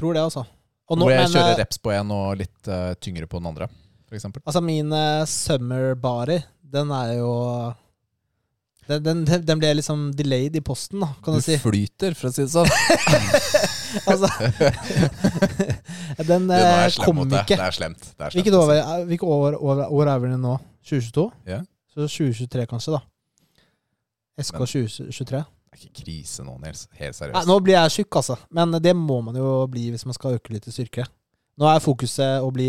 Tror det, altså. Og nå- Hvor jeg men, eh, kjører reps på en og litt eh, tyngre på den andre, f.eks. Altså, min eh, summer body, den er jo den, den, den- den ble liksom delayed i posten, da, kan du si. flyter, for å si det sånn. Altså, den Du, nå er eh, jeg slem kom mot deg. ikke. Det er slemt. Det er slemt altså. Hvilket å år, si. er- hvilket år, år, år er vi i nå? 2022? Ja. Så 2023 kanskje, da. SK Men- 2023. Det er ikke krise nå, Nils. Helt seriøst. Nei, nå blir jeg tjukk, altså. Men det må man jo bli hvis man skal øke litt i styrke. Nå er fokuset å bli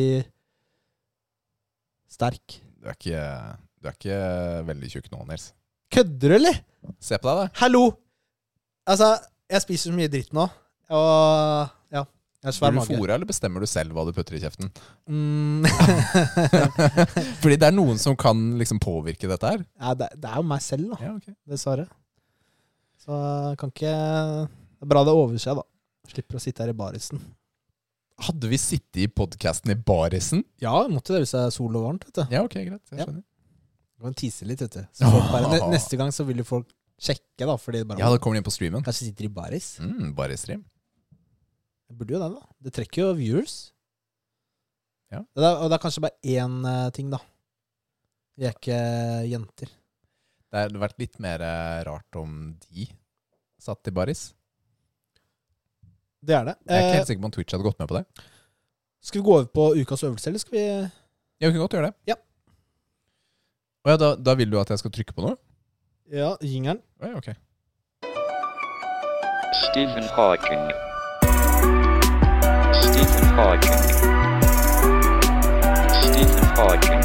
sterk. Du, er ikke, du er ikke veldig tjukk nå, Nils. Kødder du, eller? Se på deg, da. Hallo! Altså, jeg spiser så mye dritt nå. Og ja, jeg har svær Blir du mage. fôra, eller bestemmer du selv hva du putter i kjeften? Mm, Fordi det er noen som kan liksom påvirke dette her. ja, det, det er jo meg selv, da. Ja, ok. Dessverre. Så jeg kan ikke Det er bra det over seg, da. Slipper å sitte her i barisen. Hadde vi sittet i podkasten i barisen? Ja, måtte det hvis det er sol og varmt, vet du. Ja, ok, greit. Jeg Ja. skjønner. Du kan tise litt, vet du. Så folk bare, ne- neste gang så vil jo folk sjekke, da, fordi de bare «Hm, Ja, da kommer de inn på streamen. Kanskje sitter i baris. Mm, Barisstream. Jeg burde jo det, da. Det trekker jo viewers. Ja. Det er, og det er kanskje bare én eh, ting, da. Vi er ikke jenter. Det hadde vært litt mer eh, rart om de satt i baris. Det er det. Jeg er ikke Eh, helt sikker på om Twitch hadde gått med på det. skal vi gå over på ukas øvelse, eller skal vi Jeg kunne godt gjøre det. Ja. Å ja, da, da vil du at jeg skal trykke på noe? Ja, jingeren. Å ja, ok. Stephen Hawking. Stephen Hawking. Stephen Hawking.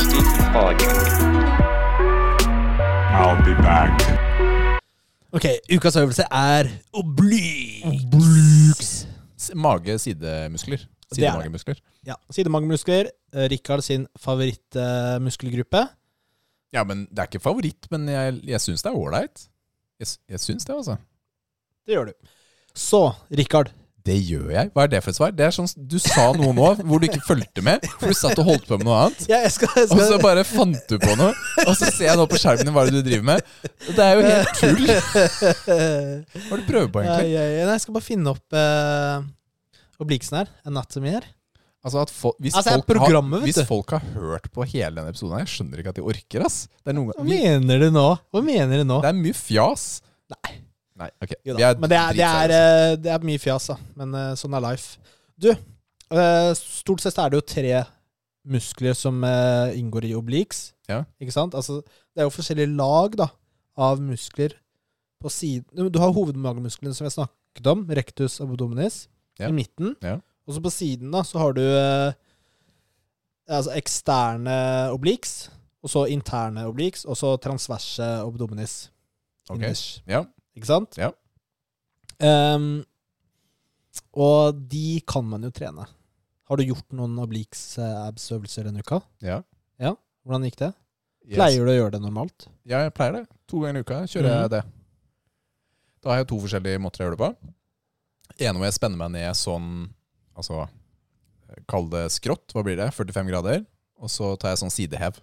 Stephen Hawking. I'll be back. Ok, ukas øvelse er obliques. Obliques. S- Mage-sidemuskler. Det er det. Sidemagemuskler. Ja, Sidemagemuskler. eh, Rikard sin eh, favorittmuskelgruppe. Ja, men det er ikke favoritt, men jeg, jeg syns det er ålreit. Jeg, s- jeg syns det, altså. Det gjør du. Så, Rikard. Det gjør jeg. Hva er det for et svar? Det er sånn, Du sa noe nå hvor du ikke fulgte med. For du satt og holdt på med noe annet. Ja, jeg skal, jeg Og så skal. bare fant du på noe. Og så ser jeg nå på skjermen din hva er det du driver med. Det er jo helt tull. Hva er det du prøver Nei, på, egentlig? jeg, jeg, nei, jeg skal bare finne opp eh, oblikesen her. Anatomy her. Altså, at fol hvis, Altså, det er folk programmet, har, vet hvis du. folk har hørt på hele denne episoden her, jeg skjønner ikke at de orker, ass. Det er, noen, Hva vi, mener du nå? Hva mener du nå? det er mye fjas. Nei. Nei, ok. Jo Vi da. er Men det er, det, er, dritseriøse. eh, det er mye fjas, da. Men eh, sånn er life. Du, eh, stort sett er det jo tre muskler som eh, inngår i obliques. Ja. Ikke sant? Altså, det er jo forskjellige lag da, av muskler på siden. Du har hovedmagemusklene som jeg snakket om, rectus abdominis, Ja. i midten. Ja. Og så på siden da, så har du eh, altså eksterne obliques, og så interne obliques, og så transverse abdominis. Ok. Innish. Ja. Ikke sant? Ja. Ehm, og de kan man jo trene. Har du gjort noen obliques eh, abs-øvelser denne uka? Ja. Hvordan gikk det? Yes. eh, Pleier du å gjøre det normalt? Ja, jeg pleier det. To ganger i uka kjører Mhm. jeg det. Da har jeg to forskjellige måter jeg gjør det på. En hvor jeg spenner meg ned sånn Altså Kall det skrått. Hva blir det? 45 grader. Og så tar jeg sånn sidehev.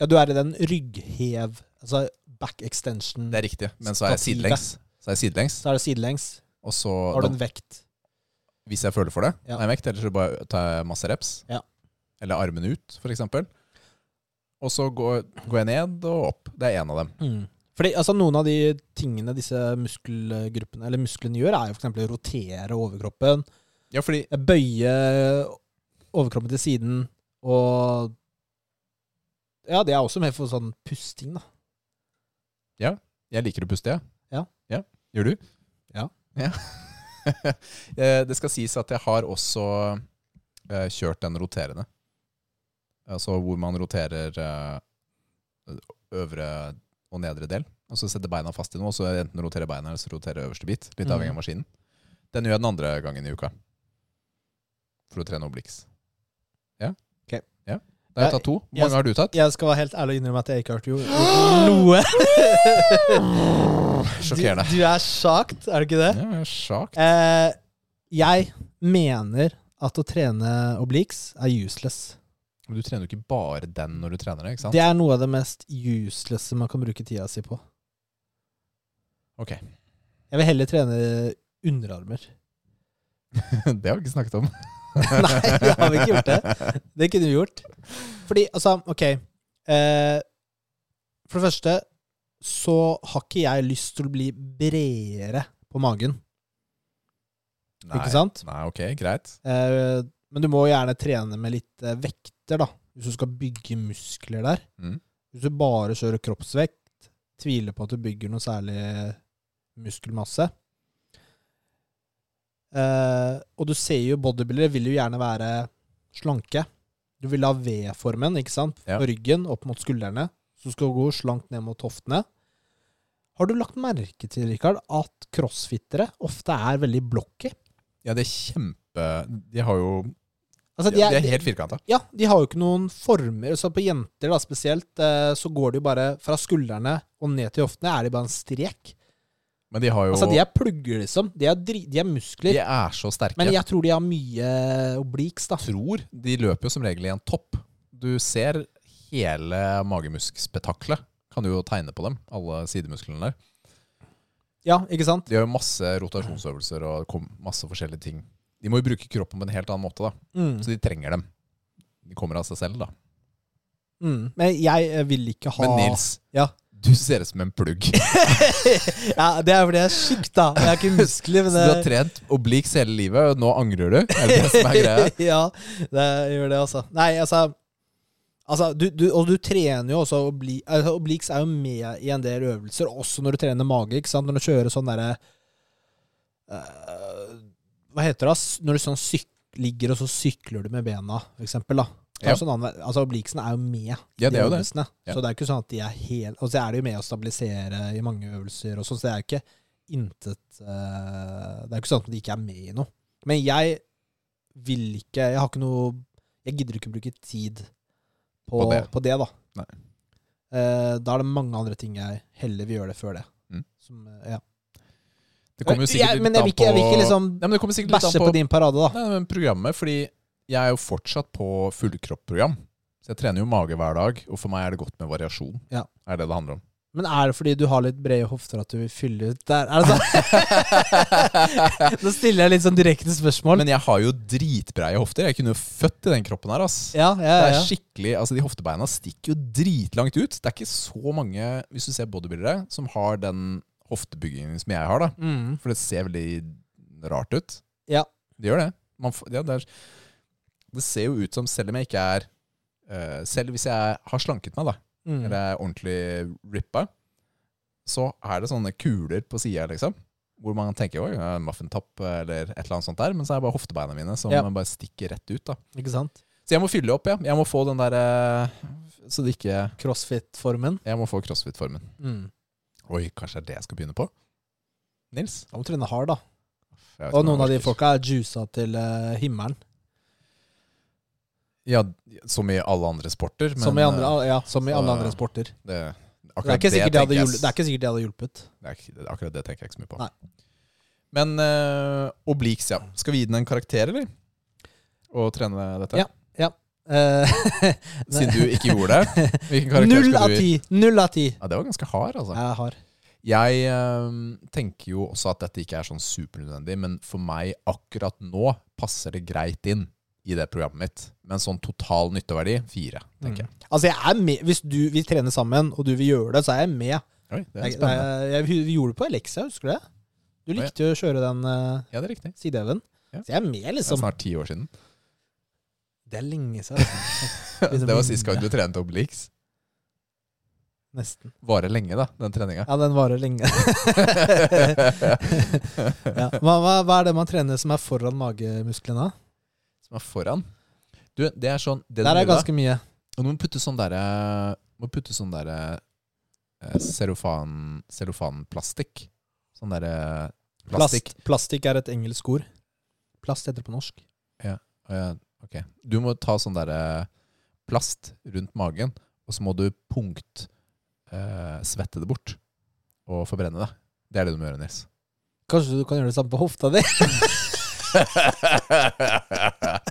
Ja, du er i den rygghev, altså back extension. Det er riktig. Men så er jeg Stativet. sidelengs. Så er jeg sidelengs. Så er det sidelengs. Og så, Har du da, en vekt? hvis jeg føler for det, Ja. har jeg vekt, eller så bare tar jeg masse reps. Ja. Eller armene ut, for eksempel. Og så går, går jeg ned og opp. Det er én av dem. Fordi altså, Noen av de tingene disse muskelgruppene, eller musklene gjør, er jo f.eks. å rotere overkroppen, eh, Ja, fordi bøye overkroppen til siden og Ja, det er også mer for sånn pusting, da. jeg liker å puste, jeg. Ja. Gjør du? Ja. Ja. Eh, det skal sies at jeg har også eh, kjørt den roterende. Altså hvor man roterer eh, øvre og nedre del. Og så setter beina fast i noe, og så enten roterer beina eller så roterer øverste bit. Litt Mhm. avhengig av maskinen. Den gjør jeg den andre gangen i uka. For å trene obliks. Ja. Ok. Ja. Da har jeg tatt to. Hvor Jeg- mange har du tatt? Jeg skal være helt ærlig og innrømme at jeg ikke har hørt jo gjort noe. Sjokkerende. Du, du er sjakt, er du ikke det? Ja, jeg er sjakt. Eh, jeg mener at å trene obliques er useless. Men du trener jo ikke bare den når du trener det, ikke sant? Det er noe av det mest uselesse man kan bruke tida si på. Ok. Jeg vil heller trene underarmer. det har vi ikke snakket om. Nei, jeg har ikke gjort det. Det kunne vi gjort. Fordi, altså, ok eh, For det første så har ikke jeg lyst til å bli bredere på magen, Nei. ikke sant? Nei, ok, greit. Eh, men du må gjerne trene med litt eh, vekter, da, hvis du skal bygge muskler der. Mm. Hvis du bare kjører kroppsvekt, tviler på at du bygger noe særlig muskelmasse. Eh, og du ser jo bodybuildere vil jo gjerne være slanke. Du vil ha V-formen, ikke sant? Ja. På ryggen, opp mot skuldrene. Så skal du gå slankt ned mot hoftene. Har du lagt merke til, Rikard, at crossfittere ofte er veldig blokke? Ja, det er kjempe De har jo Altså, De er, de er helt firkanta. Ja, de har jo ikke noen former. Så på jenter da spesielt, eh, så går de jo bare fra skuldrene og ned til hoftene, er de bare en strek. Men de har jo Altså, de er plugger, liksom. De er, dri de er muskler. de er så sterke. Men jeg tror de har mye eh, obliques, da. tror De løper jo som regel i en topp. Du ser hele magemuskspetakkelet. Kan du jo tegne på dem, alle sidemusklene der. Ja, ikke sant? De har jo masse rotasjonsøvelser og kom- masse forskjellige ting. De må jo bruke kroppen på en helt annen måte, da. Mm. Så de trenger dem. De kommer av seg selv, da. Mm. Men jeg eh, vil ikke ha Men Nils, Ja. du ser ut som en plugg. ja, Det er fordi jeg er tjukk, da. Jeg har ikke muskler, men Så du har trent obliques hele livet, og nå angrer du? Er det det som er greia? ja, det gjør det, altså. Nei, altså Altså, du, du, og du trener jo også obli, altså, Obliques er jo med i en del øvelser, også når du trener mage. ikke sant? Når du kjører sånn derre eh, Hva heter det? ass? Når du sånn syk, ligger og så sykler du med bena, for eksempel. da. Det er Ja. sånn annen, altså, Obliquesen er jo med i Ja, det de er jo det. øvelsene. Ja. Så det er ikke sånn at de er helt Og så er det jo med å stabilisere i mange øvelser og sånn, så det er jo ikke intet eh, Det er jo ikke sånn at de ikke er med i noe. Men jeg vil ikke Jeg har ikke noe Jeg gidder ikke bruke tid på, på, På det. det. da. Nei. Eh, da er det mange andre ting jeg heller vil gjøre det før det. Mm. Som, eh, ja. Det kommer jo sikkert jeg, litt men jeg vil ikke, jeg vil ikke liksom Nei, men det kommer sikkert litt bæsje an på, på, din parade, da. Nei, men programmet, fordi jeg er jo fortsatt på fullkropp-program. Så jeg trener jo mage hver dag, og for meg er det godt med variasjon. Ja. Er det det handler om. Men er det fordi du har litt brede hofter at du vil fylle ut der? Er det sånn? Nå stiller jeg litt sånn direkte spørsmål. Men jeg har jo dritbreie hofter. Jeg kunne jo født i den kroppen her, ass. ja, ja, ja. Det er skikkelig, altså De hoftebeina stikker jo dritlangt ut. Det er ikke så mange, hvis du ser bodybuildere, som har den hoftebyggingen som jeg har. da Mm. For det ser veldig rart ut. Ja. Det gjør det. Man, får- ja, det, er, det ser jo ut som, selv om jeg ikke er eh, Selv hvis jeg har slanket meg, da, Mm. eller er ordentlig rippa, så er det sånne kuler på sida, liksom. Hvor man tenker oi, jeg har en muffintopp eller et eller annet sånt der. Men så er det bare hoftebeina mine som Ja. bare stikker rett ut. da Ikke sant? Så jeg må fylle opp, ja. Jeg må få den der eh, Så det ikke Crossfit-formen. Jeg må få crossfit-formen. Mm. Oi, kanskje det er det jeg skal begynne på? Nils? Da må du trene hard, da. Jeg vet ikke Og om noen av de jeg orker. folka er juica til eh, himmelen. Ja, som i alle andre sporter. Men som i, andre, eh, ja, som i så- alle andre sporter. det, Det er, akkurat ikke sikkert det, hadde tenker jeg hjul, det er ikke sikkert det hadde hjulpet. det er ikke- det- Akkurat det tenker jeg ikke så mye på. eh, Nei. Men uh, Obliques, ja. Skal vi gi den en karakter, eller? å trene dette? Ja. Eh, Siden du ikke gjorde det? Hvilken karakter Null skal av du gi? ti! Null av ti! Ja, det var ganske hard, altså. Jeg har Jeg eh, tenker jo også at dette ikke er sånn supernødvendig, men for meg akkurat nå passer det greit inn i det programmet mitt. Men sånn total nytteverdi, fire, tenker jeg. Altså, jeg er med. Hvis du vil trene sammen, og du vil gjøre det, så er jeg med. Oi, det er Jeg, spennende. jeg, vi vi gjorde det på Elixia, husker du det? Du ja. likte jo å kjøre den uh, Ja, det er riktig. sideheven. Ja. Så jeg er med, Det er liksom. snart ti år siden. Det er lenge siden. Begynner å Det var sist gang minne. du trente Obelix. Nesten. Varer lenge, da, den treninga. Ja, den varer lenge. ja. hva, hva, hva er det man trener som er foran magemusklene? Som er foran. Du, det er sånn det du Der er gjorde da- ganske mye. Og du må putte sånn derre Må putte sånn derre eh, cellofan, Cellofanplastikk. Sånn derre plastikk. Plast, plastikk er et engelsk ord. Plast heter det på norsk. Eh, Ok. Du må ta sånn derre plast rundt magen, og så må du punkt eh, svette det bort. Og forbrenne det. Det er det du må gjøre, Nils. Kanskje du kan gjøre det samme på hofta di?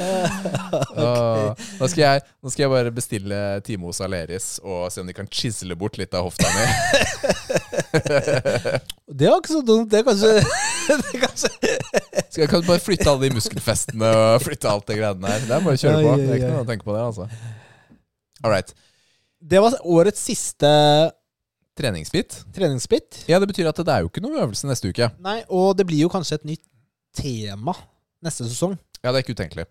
Ah. Åh, nå, skal jeg, nå skal jeg bare bestille time hos Aleris og se om de kan chisle bort litt av hofta mi. Det var ikke så dumt. Det er kanskje, det er kanskje Skal jeg kan bare flytte alle de muskelfestene og flytte alt det greiene der. Det er bare å kjøre Ai, på. ai, Det er ikke ai. noe å tenke på det, altså. All right. Det var årets siste Treningsbit. treningsbit. Ja, det betyr at det er jo ikke noe øvelse neste uke. Nei, og det blir jo kanskje et nytt tema neste sesong. Ja, det er ikke utenkelig.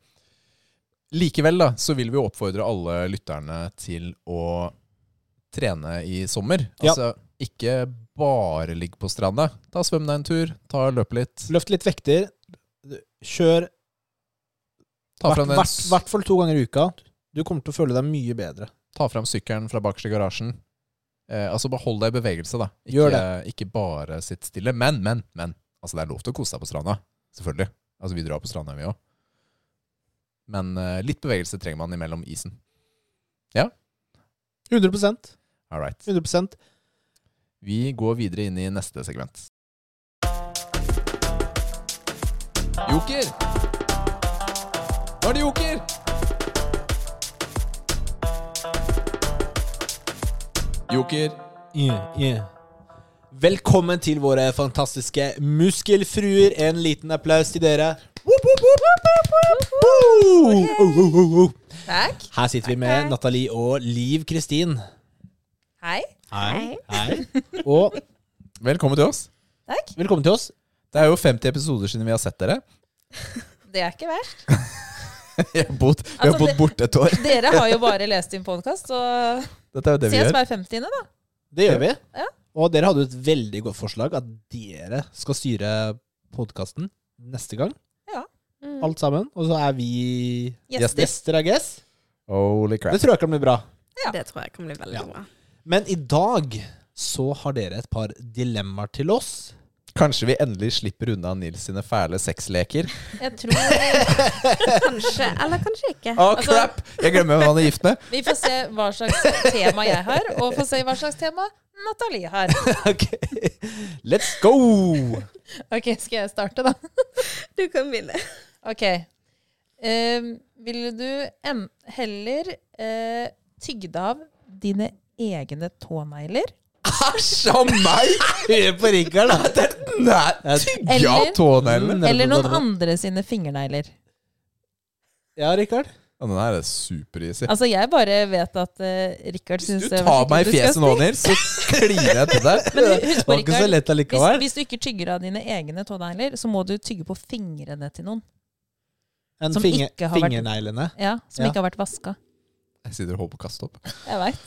Likevel da, så vil vi jo oppfordre alle lytterne til å trene i sommer. Ja. Altså, ikke bare ligg på stranda. Ta svøm deg en tur, ta og løp litt. Løft litt vekter. Kjør Ta hvert fram, den, hvert- hvert fall to ganger i uka. Du kommer til å føle deg mye bedre. ta fram sykkelen fra bakerst i garasjen. Eh, altså, bare hold deg i bevegelse, da. Ikke, Gjør ikke bare sitt stille. Men, men, men. Altså, det er lov til å kose seg på stranda. Selvfølgelig. Altså, vi drar på stranda, vi òg. Men eh, litt bevegelse trenger man imellom isen. 100 All right. 100 Vi går videre inn i neste segment. Joker! Nå er det joker! Joker. Yeah, yeah. Velkommen til våre fantastiske muskelfruer. En liten applaus til dere. Woop, woop, woop, woop, woop, woop. Oh, oh, oh, oh. Takk. Her sitter vi med Nathalie og Liv Kristin. Hei. Hei. Hei. Og Velkommen til oss. Takk. velkommen til oss. Det er jo 50 episoder siden vi har sett dere. Det er ikke verst. Vi har bodd, vi har Altså, bodd det- borte et år. Dere har jo bare lest inn podkast, så Dette er jo det vi ses gjør. hver femtiende, da. Det gjør vi. Ja. Og dere hadde jo et veldig godt forslag, at dere skal styre podkasten neste gang. Alt sammen. Og så er vi Gjester. gjester, I guess. Holy Det crap. tror jeg kan bli bra. Ja. Det tror jeg kan bli veldig Ja. bra. Men i dag så har dere et par dilemmaer til oss. Kanskje vi endelig slipper unna Nils sine fæle sexleker. Jeg tror Kanskje, eller kanskje ikke. Ah. Å, Altså- Ah, crap! Jeg glemmer hvem han er gift med. Vi får se hva slags tema jeg har, og får se hva slags tema Nathalie har. Ok, let's go! Ok, skal jeg starte, da? Du kan begynne. Ok. Ehm, ville du en heller eh, tygd av dine egne tånegler? Æsj av meg! Hør på Rikard, da. Nei, tygge av Eller- tåneglene. Eller noen andre sine fingernegler? Ja, Rikard. Ja, den her er supereasy. Altså, jeg bare vet at uh, Richard syns Hvis du tar meg i fjeset nå, Nils, så kliner jeg til deg. Men hu- Det husk på, var ikke så Rikard, lett hvis, allikevel. hvis du ikke tygger av dine egne tånegler, så må du tygge på fingrene til noen. En som finger, ikke har vært- fingerneglene. Ja, Som Ja. ikke har vært vaska. Jeg sitter og holder på å kaste opp. Jeg vet.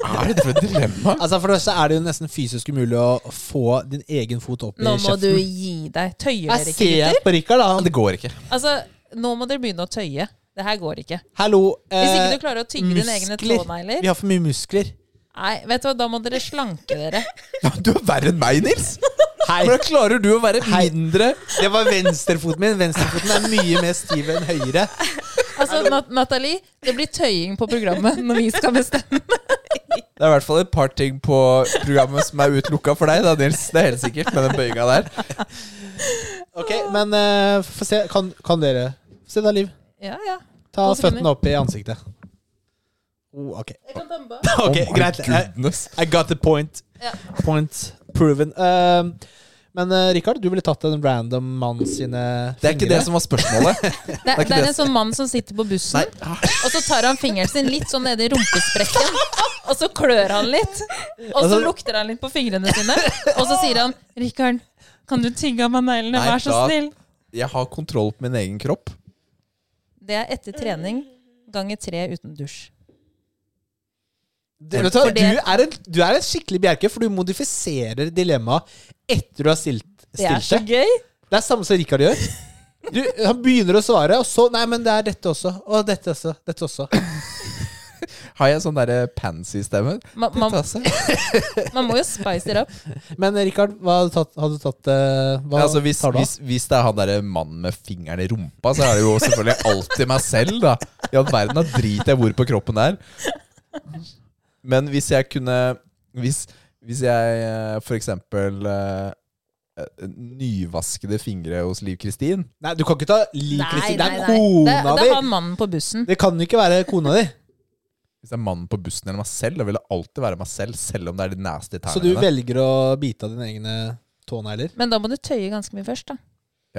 Hva er dette for et dilemma? Altså For det første er det jo nesten fysisk umulig å få din egen fot opp i Nå må du kjeften. gi deg. Tøyer Jeg dere ikke, ser gutter? på Rikard, da. Det går ikke. Altså, nå må dere begynne å tøye. Det her går ikke. Hallo. Hvis eh, ikke du klarer å tygge dine egne muskler. tånegler Vi har for mye muskler. Nei, vet du hva, da må dere slanke dere. Du er verre enn meg, Nils! Hei. Hvordan klarer du å være Hei. mindre Det var venstrefoten min. Venstrefoten er mye mer stiv enn høyre. Altså, Nat Nathalie, det blir tøying på programmet når vi skal bestemme. Det er i hvert fall et par ting på programmet som er utelukka for deg, da, Nils. Det er helt sikkert, med den bøyinga der. Ok, men eh, få se. Kan, kan dere Se da, Liv. Ja, ja. Ta To sekunder. føttene opp i ansiktet. Oh, ok. Jeg kan dempe. Ok, Oh my greit. I, Goodness. I got the point. Ja. Point proven. Eh, men eh, Richard, du ville tatt en random mann sine Det er ikke det fingre. som var spørsmålet. Det, er- det er en sånn mann som sitter på bussen, og så tar han fingeren sin litt sånn nede i rumpesprekken. Og så klør han litt, og så Altså- lukter han litt på fingrene sine. Og så sier han 'Rikard, kan du tygge av meg neglene, Nei, vær så da- snill'? Jeg har kontroll på min egen kropp. Det er etter trening ganger tre uten dusj. Du, vet du, hva, For det- du, er en, du er en skikkelig bjerke, for du modifiserer dilemmaet etter du har stilt, Det er så stilt det. gøy! Det er samme som Richard gjør. Du, han begynner å svare, og så Nei, men det er dette også. Og dette også. Dette også. Har jeg sånn derre pansy-stemme? Man, man, Altså, man må jo spice it up. Men eh, Richard, hva har du tatt? Har du tatt eh, hva altså, hvis, tar du av? hvis, hvis det er han derre mannen med fingeren i rumpa, så er det jo selvfølgelig alltid meg selv, da. I all verden, da driter jeg hvor på kroppen det er. Men hvis jeg kunne Hvis, hvis jeg eh, for eksempel eh, eh, Nyvaskede fingre hos Liv Kristin Nei, du kan ikke ta Liv Kristin. Det er Det, kona det di! er han mannen på bussen. Det kan jo ikke være kona di. Hvis det er mannen på bussen eller meg selv, da vil det alltid være meg selv, selv om det er de nasty Så du tærne. mine. velger å bite av dine egne tånegler? Men da må du tøye ganske mye først, da.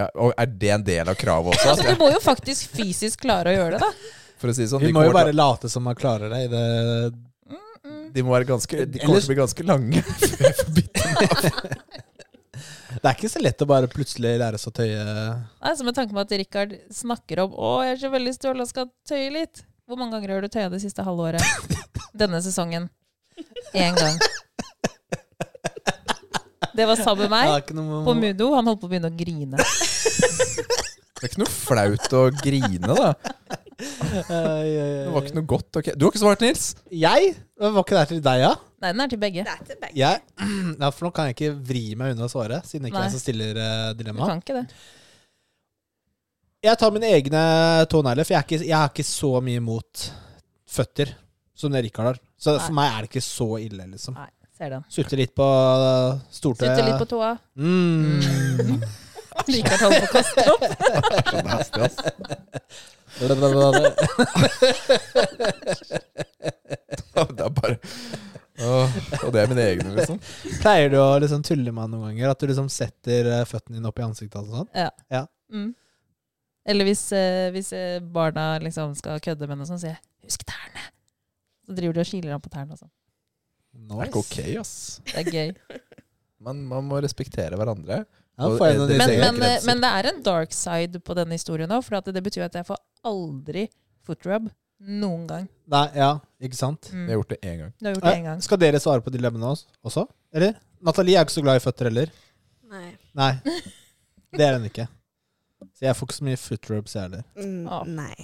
Ja, og er det en del av kravet også? Altså, du må jo faktisk fysisk klare å gjøre det, da. For å si det sånn, Vi de må jo kommer bare til late som man klarer det. i det å- De må være ganske De kommer Ellers- til å bli ganske lange. før jeg får bitt dem. Det er ikke så lett å bare plutselig lære seg å tøye Altså, med tanke på at Richard snakker om 'Å, jeg er så veldig støl og skal tøye litt'. Hvor mange ganger har du tøya det siste halvåret? Denne sesongen. Én gang. Det var sammen med Det meg er ikke noe- på Mudo. Han holdt på å begynne å grine. Det er ikke noe flaut å grine, da. Ai, ai, ai. Det var ikke noe godt. ok Du har ikke svart, Nils! Jeg? Det var ikke det her til deg, ja? Nei, den er til begge. Det er til begge. Jeg? Ja, for nå kan jeg ikke vri meg unna å svare, siden det ikke er jeg Nei. som stiller eh, Du dilemmaet. kan ikke det. Jeg tar mine egne tånegler, for jeg er, ikke, jeg er ikke så mye imot føtter som det Rikard har. Så for meg er det ikke så ille, liksom. Nei, ser den. Sutte litt på eh, stortøyet. Slutter litt på tåa. Mm. Richard holder på å kaste opp. Så nasty, ass. Nei, Det er bare Åh, Og det er mine egne, liksom. Pleier du å liksom tulle med han noen ganger? At du liksom setter eh, føttene dine opp i ansiktet? og sånn? Ja. Ja. Mm. Eller hvis, eh, hvis eh, barna liksom skal kødde med noe sånt, sier jeg 'husk tærne'. Så driver de og kiler han på tærne og sånn. Det er ikke ok, ass. Det er gøy. Man, man må respektere hverandre. Ja, får jeg noen Men- nye Det er Men, seere. men, grenser. eh, men det er en dark side på denne historien òg, for at det betyr at jeg får aldri footrub noen gang. Mm. Nei, ja, ikke sant? Jeg har gjort det én gang. Du har gjort det én Eh, gang. Skal dere svare på dilemmaene også- også? Eller? Natalie er ikke så glad i føtter heller. Nei. Nei, det er hun ikke. Så jeg får ikke så mye footrubs, jeg heller. Ah. Mm, nei.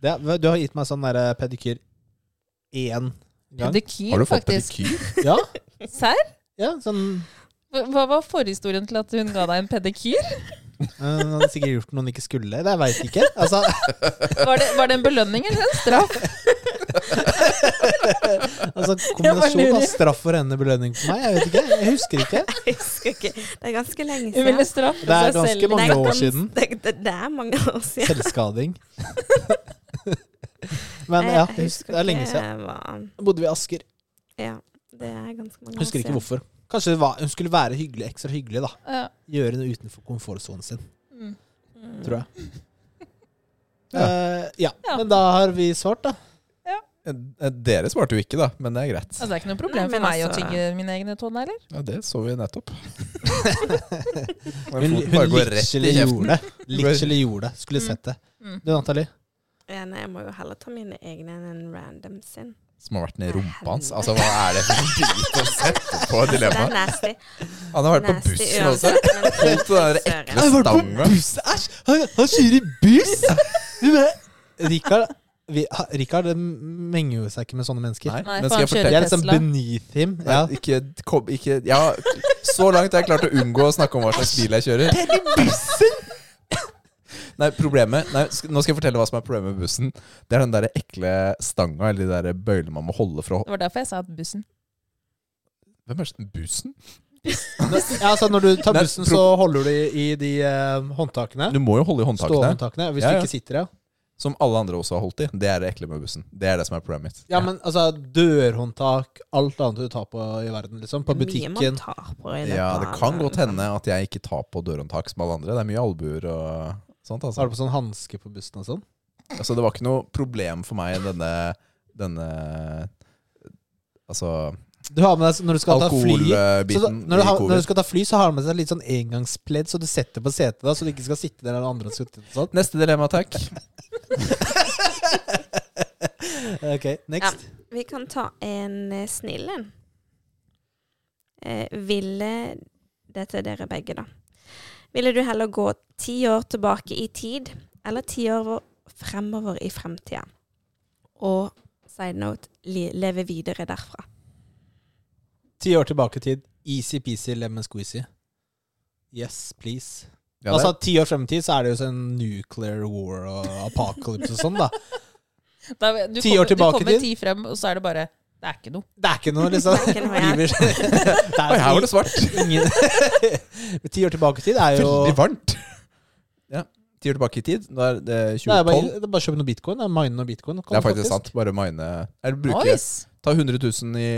Det, er- du har gitt meg sånn derre pedikyr én gang. Har Pedikyr, du fått faktisk. pedikyr? Ja, Serr? ja sånn Hva- Hva var forhistorien til at hun ga deg en pedikyr? eh, Hun hadde sikkert gjort noe hun ikke skulle. Det veit ikke. Altså, Var det, var det en belønning eller en straff? altså Jeg bare kombinasjon av lurer. straff og rennende belønning for meg. Jeg vet ikke. Jeg husker ikke. Jeg husker ikke. Det er ganske lenge Hun siden. ville straffe Det er seg ganske selv. mange Det er år gans- siden. Det, det, det er mange år siden. Selvskading. Men ja, jeg husker, det er lenge siden. ikke hva- Bodde vi i Asker. ja, det er ganske mange Husker år ikke siden. hvorfor. Kanskje det var, hun skulle være hyggelig, ekstra hyggelig, da. Ja. Gjøre noe utenfor komfortsonen sin, Mm. tror jeg. Ja. Eh, ja. Ja. men da har vi svart, da. Eh, Dere svarte jo ikke, da. Men det er greit. Altså, det er ikke noe Nei, problem for men meg å altså- tygge mine egne tånegler. Ja, det så vi nettopp. Hun, Men hun foten bare går rett i literally kjeften. gjorde det. Literally gjorde det. Skulle sett det. Mm. Du, Nathalie. Ja, nei, jeg må jo heller ta mine egne enn en random sin. Som har vært ned i rumpa hans. Altså, hva er det for en drit å sette på Det er dilemmaet? nasty. Han har vært på Nasty bussen også. uansett, men Holdt den der søren. ekle stanga. Æsj! Han, kjører i buss! Rikard, vi, ha- Rikard det menger jo seg ikke med sånne mennesker. Nei, Nei, men for skal jeg han Det fortelle er liksom Tesla. beneath him. ja. Ja. ikke, kom, ikke, ja, Så langt har jeg klart å unngå å snakke om hva slags bil jeg kjører. Nei, problemet nei, sk- Nå skal jeg fortelle hva som er problemet med bussen. Det er den der ekle stanga, eller de der bøylene man må holde for å Det var derfor jeg sa at bussen. Hvem er det som- Bussen? Ja, altså når du tar Nei, bussen, pro- så holder du i, i de eh, håndtakene. Du må jo holde i håndtakene, Ståhåndtakene. Hvis Ja, ja. du ikke sitter, ja. som alle andre også har holdt i. Det er det ekle med bussen. Det er det som er problemet mitt. Ja, men altså, dørhåndtak, alt annet du tar på i verden, liksom. På Mye man butikken. tar på i Ja, det banen, kan godt liksom. hende at jeg ikke tar på dørhåndtak som alle andre. Det er mye albuer og sånt. Så har Altså. du på sånn hanske på bussen og sånn. altså, det var ikke noe problem for meg denne, denne Altså Du har med deg, Når du skal ta fly så da, alkoholbiten når, du har, i når du covid. skal ta fly, så har du med deg litt sånn engangspledd, så du setter på setet da, så du ikke skal sitte der når andre har sittet og sånn. Neste dilemma, takk. Ok, next. Vi kan ta en eh, snill en. Eh, ville Dette er dere begge, da. Ville du heller gå ti år tilbake i tid, eller ti år hvor- fremover i fremtida? Og side note li, leve videre derfra. Ti år tilbake i tid. Easy-peasy, lemon squeezy. Yes, please. Ja, det, altså, ti år frem i tid, så er det jo sånn nuclear war og apocalypse og sånn, da. Da, du Ti år kommer, tilbake Du kommer til- ti frem, og så er det bare Det er ikke noe. Det er ikke noe, liksom. Det er ikke noe, ja. Livet- Det Oi, her var det sånn. er svart! ingen Ti år tilbake i tid er jo Veldig varmt. Ja. Ti år tilbake i tid. Da er det det er, bare, 2012. det er bare å kjøpe noe bitcoin. da. Mine noe bitcoin. kan Det er du faktisk sant. Bare mine Eller bruke Nice! Ta 100 000 i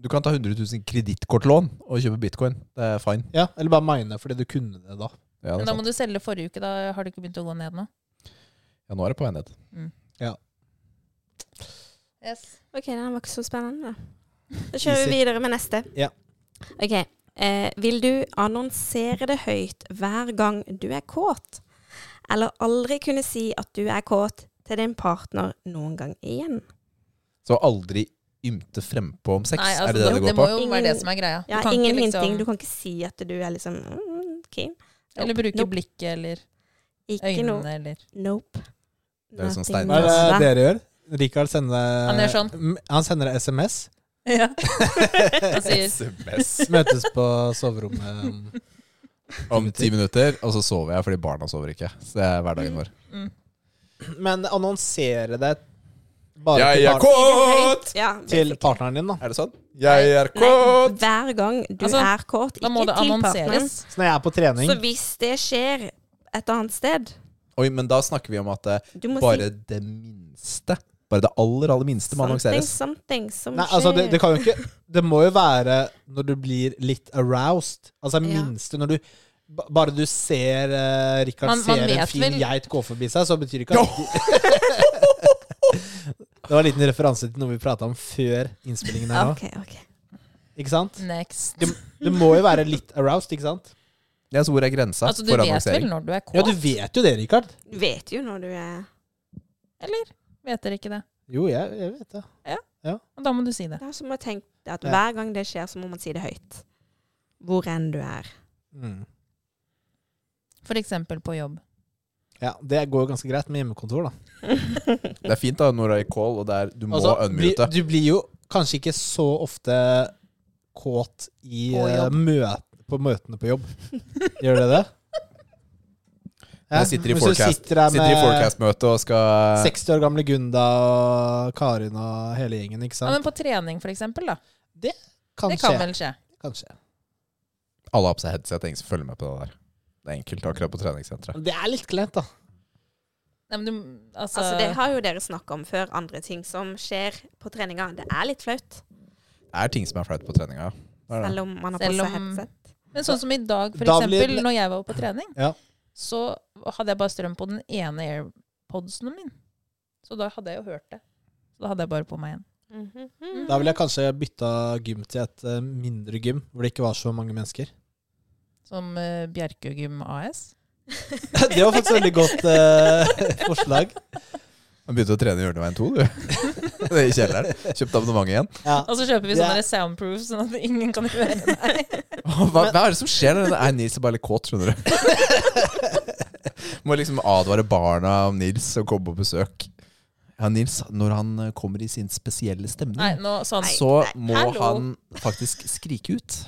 Du kan ta 100 000 i kredittkortlån og kjøpe bitcoin. Det er fine. Ja, eller bare mine fordi du kunne det da. Ja, det Men er da må sant. du selge forrige uke. Da har det ikke begynt å gå ned nå. ja, nå er det på vei ned. OK, den var ikke så spennende. Da kjører Easy. vi videre med neste. Ja. OK. Eh, vil du annonsere det høyt hver gang du er kåt? Eller aldri kunne si at du er kåt til din partner noen gang igjen? Så aldri ymte frempå om sex. Nei, altså, er det det det, går må på? jo Ingen- være det som er greia. Du Ja, kan ingen ikke liksom- hinting. Du kan ikke si at du er liksom mm, keen. Eller bruke Nope. blikket eller Ikke øynene noe. eller Nope. Det er jo sånn Nothing stein- Hva er det much. dere gjør? Rikard sender Han gjør sånn. M- Han sender SMS. Ja. Han sier SMS Møtes på soverommet. om ti minutter, og så sover jeg fordi barna sover ikke. Så det er hverdagen vår. mm. Men annonsere det bare Jeg til, er par kåt! Ja, til partneren din, da. Er det sånn? Jeg er Nei, kåt! hver gang du Altså, er kåt, Da må ikke det til partneren. annonseres. Så når jeg er på trening Så hvis det skjer et annet sted Oi, men da snakker vi om at eh, du må bare si det minste, bare det aller, aller minste må something, annonseres. something som Nei, altså, det, skjer. det kan jo ikke Det må jo være når du blir litt aroused. Altså Ja. minste når du ba- Bare du ser eh, Rikard Man- man ser en vet fin vel- geit gå forbi seg, så betyr det ikke at Det var en liten referanse til noe vi prata om før innspillingen her nå. OK, OK. Ikke sant? Next. Du må jo være litt aroused, ikke sant? Ja, så hvor er grensa Altså, du for vet vel annonsering? når du er kåt? Ja, du vet jo det, Rikard. Du vet jo når du er Eller vet dere ikke det? Jo, jeg, jeg vet det. Og da må du si det. Det er som å tenke at Ja. hver gang det skjer, så må man si det høyt. Hvor enn du er. Mm. For eksempel på jobb. Ja, Det går jo ganske greit med hjemmekontor, da. Det er fint da når det er call, og det er, du må Altså, bli, unmute. du blir jo kanskje ikke så ofte kåt i På eh, jobb. møt, på møtene på jobb. Gjør det det? Når jeg sitter i Hvis du forecast- sitter der Sitter i med forecast-møte og skal 60 år gamle Gunda og Karin og hele gjengen, ikke Ja, sant? men på trening, for eksempel, da. Kanskje. Det kan vel skje. kanskje. Alle har på seg headset, ingen som følger med på det der. Det er enkelt akkurat på treningssenteret. Men Det er litt kleint, da. Nei, men du, altså, Altså, det har jo dere snakka om før, andre ting som skjer på treninga. Det er litt flaut, Det er ting som er flaut på treninga. Det er det. selv om man har på Selv seg om- headset. Men sånn som i dag, for Da blir- eksempel, når jeg var på trening, Ja. så hadde jeg bare strøm på den ene airpodsen min. Så da hadde jeg jo hørt det. Så da hadde jeg bare på meg en. Mhm. Da ville jeg kanskje bytta gym til et eh, mindre gym, hvor det ikke var så mange mennesker. Som uh, Bjerkegym AS. Det var faktisk et veldig godt eh, forslag. Du begynte å trene i Hjørneveien 2, du. Det er I kjelleren. Kjøpte abonnement igjen. Ja. Og så kjøper vi Det er- sånne soundproof, sånn at ingen kan høre deg. Hva, hva er det som skjer der? Nei, Nils er bare litt kåt, skjønner du. Må liksom advare barna om Nils og komme på besøk. Ja, Nils, når han eh, kommer i sin spesielle stemning, Nei, nå sånn. så nei, må hallo. han faktisk skrike ut.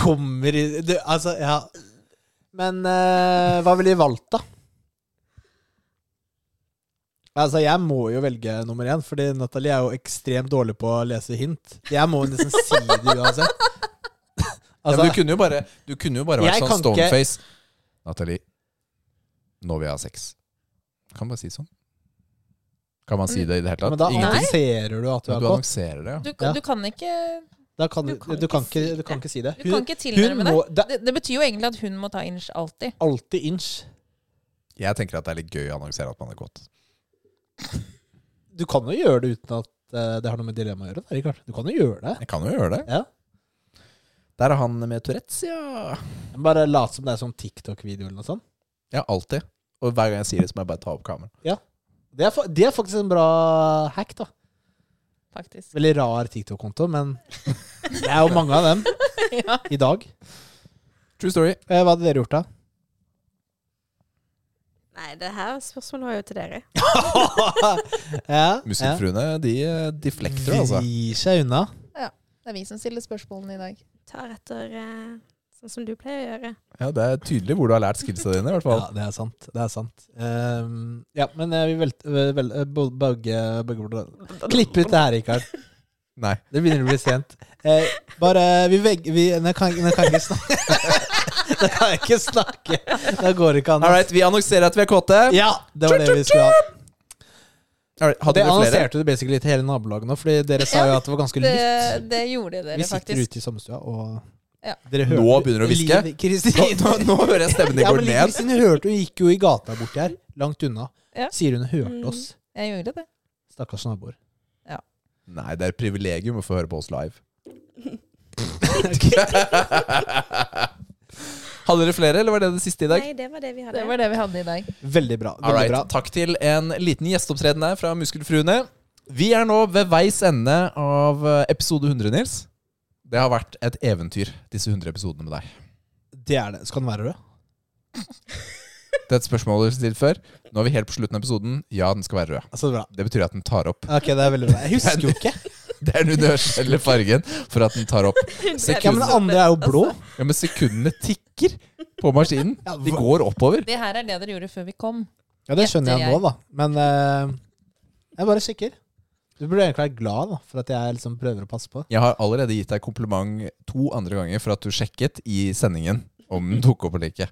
Kommer i du, Altså, ja. Men eh, hva ville de valgt, da? Altså, Jeg må jo velge nummer én, fordi Natalie er jo ekstremt dårlig på å lese hint. Jeg må nesten si det liksom uansett. ja, men du kunne jo bare, du kunne jo bare vært Altså, Jeg sånn kan ikke- stoneface. Nathalie, når vi har sex. Kan man bare si sånn. Kan man si det i det hele tatt? men da Ingenting. annonserer du at du har Men du gått. annonserer det, ja. Du, Ja. du kan ikke, Da kan du, du kan du, kan ikke si ikke, du det. kan ikke si det. du kan ikke hun tilnærme må, deg. det er Det, det betyr jo egentlig at hun må ta inch alltid. alltid inch. Jeg tenker at det er litt gøy å annonsere at man har gått. Du kan jo gjøre det uten at eh, det har noe med dilemma å gjøre. Da, Rikard. du kan jo gjøre det. Jeg kan jo gjøre det. Ja. Der er han med Tourettes, ja. Men Bare lat som det er sånn TikTok-video eller noe sånt. Ja, alltid. Og hver gang jeg sier det, så må jeg bare ta opp kameraet. Det er, fa- det er faktisk en bra hack, da. Faktisk. Veldig rar TikTok-konto, men det er jo mange av dem Ja. i dag. True story. Eh, Hva hadde dere gjort, da? Nei, det her spørsmålet var jo til dere. Ja, Muskelfruene, de eh, deflekter, altså. Vrir seg unna. Det er vi som stiller spørsmålene i dag. Tar etter eh, sånn som du pleier å gjøre. Ja, det er tydelig hvor du har lært skillsa dine, i hvert fall. Ja, det er sant. Det er sant. Ehm, ja, men jeg vil velte vel, eh, bo- begge, begge bl- Klipp ut det her, Rikard. Nei. Det begynner å bli sent. Eh, bare vi vegg... Vi, nå, kan, nå kan jeg ikke snakke. Nå kan jeg ikke snakke. Da går det ikke an. All right, vi annonserer at vi er kåte. Ja, det var det vi skulle ha. All right, Det hadde vi flere? annonserte du basically til hele nabolaget nå, fordi dere sa jo at det var ganske Det, lytt. det gjorde Vi dere sitter faktisk. ute i sommerstua, og Ja. dere Nå hører- begynner det å livet- Nå, Kristin, nå, nå hører jeg stemmen din Ja, går men ned. Kristin hørte, hun gikk jo i gata borti her, langt unna. Ja. Sier hun hørte Mm. oss. Jeg gjorde det. Stakkars naboer. liksom- Nei, det er et privilegium å få høre på oss live. Hadde dere flere, eller var det det siste i dag? Nei, det var det vi hadde. Det var det vi hadde i dag. Veldig bra. All veldig right. bra. Takk til en liten gjesteopptreden der fra Muskelfruene. Vi er nå ved veis ende av eh, episode 100, Nils. Det har vært et eventyr, disse 100 episodene med deg. Det er det. Skal den være rød? Det er et spørsmål du har stilt før. Nå er vi helt på slutten av episoden. Ja, den skal være rød. Altså, bra. Det betyr at den tar opp. Ok, det er veldig bra. Jeg husker jo ikke. Det er den universelle fargen for at den tar opp. Ja, Men den andre er jo blå. Altså, Ja, Men sekundene tikker på maskinen. De går oppover. Det her er det dere gjorde før vi kom. Ja, det skjønner jeg nå, da. Men eh, jeg er bare sikker. Du burde egentlig være glad da, for at jeg liksom prøver å passe på. Jeg har allerede gitt deg kompliment to andre ganger for at du sjekket i sendingen om den tok opp eller ikke.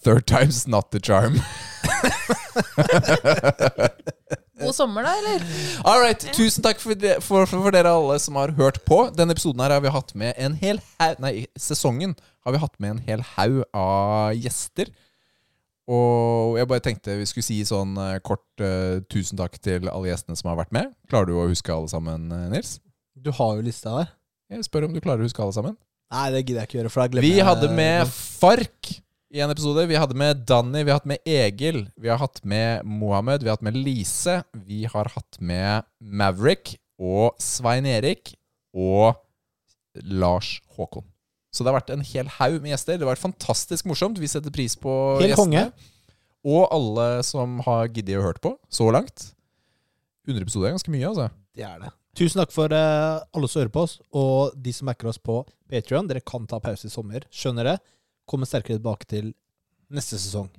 Third time's not the charm. God sommer, da, eller? All right, Tusen takk for, de, for, for dere alle som har hørt på. Denne episoden her har vi hatt med en hel haug Nei, sesongen har vi hatt med en hel haug av gjester. Og jeg bare tenkte vi skulle si sånn eh, kort eh, tusen takk til alle gjestene som har vært med. Klarer du å huske alle sammen, eh, Nils? Du har jo lista der. Jeg spør om du klarer å huske alle sammen. Nei, det gidder jeg ikke gjøre, for da glemmer Vi jeg hadde med Fark i en episode. Vi hadde med Danny, vi har hatt med Egil, vi har hatt med Mohammed, vi har hatt med Lise. Vi har hatt med Maverick og Svein Erik og Lars Håkon. Så det har vært en hel haug med gjester. Det har vært fantastisk morsomt. Vi setter pris på Helt gjestene. konge. Og alle som har giddet å hørt på så langt. 100 episoder er ganske mye, altså. Det er det. Tusen takk for eh, alle som hører på oss, og de som backer oss på Patreon. Dere kan ta pause i sommer, skjønner det. Kommer sterkere tilbake til neste sesong.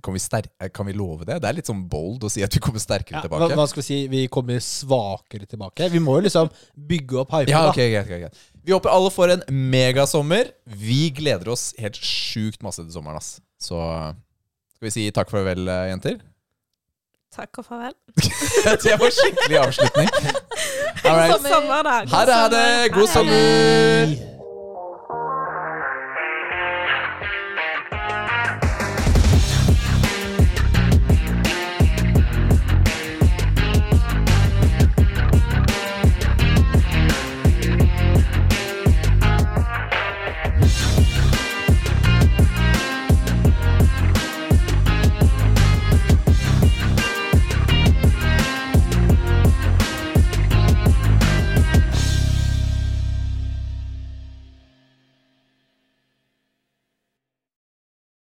Kan vi, ster eh, kan vi love det? Det er litt sånn bold å si at vi kommer sterkere Ja, hva, tilbake. hva skal vi si? Vi kommer svakere tilbake. Vi må jo liksom bygge opp hypen. Ja, da. ok, greit, greit, greit. Vi håper alle får en megasommer. Vi gleder oss helt sjukt masse til sommeren. ass. Så skal vi si takk og farvel, eh, jenter? Takk og farvel. Det var skikkelig avslutning. All right. God sommer, da. Ha det, ha det! God Hei, hei. sommer!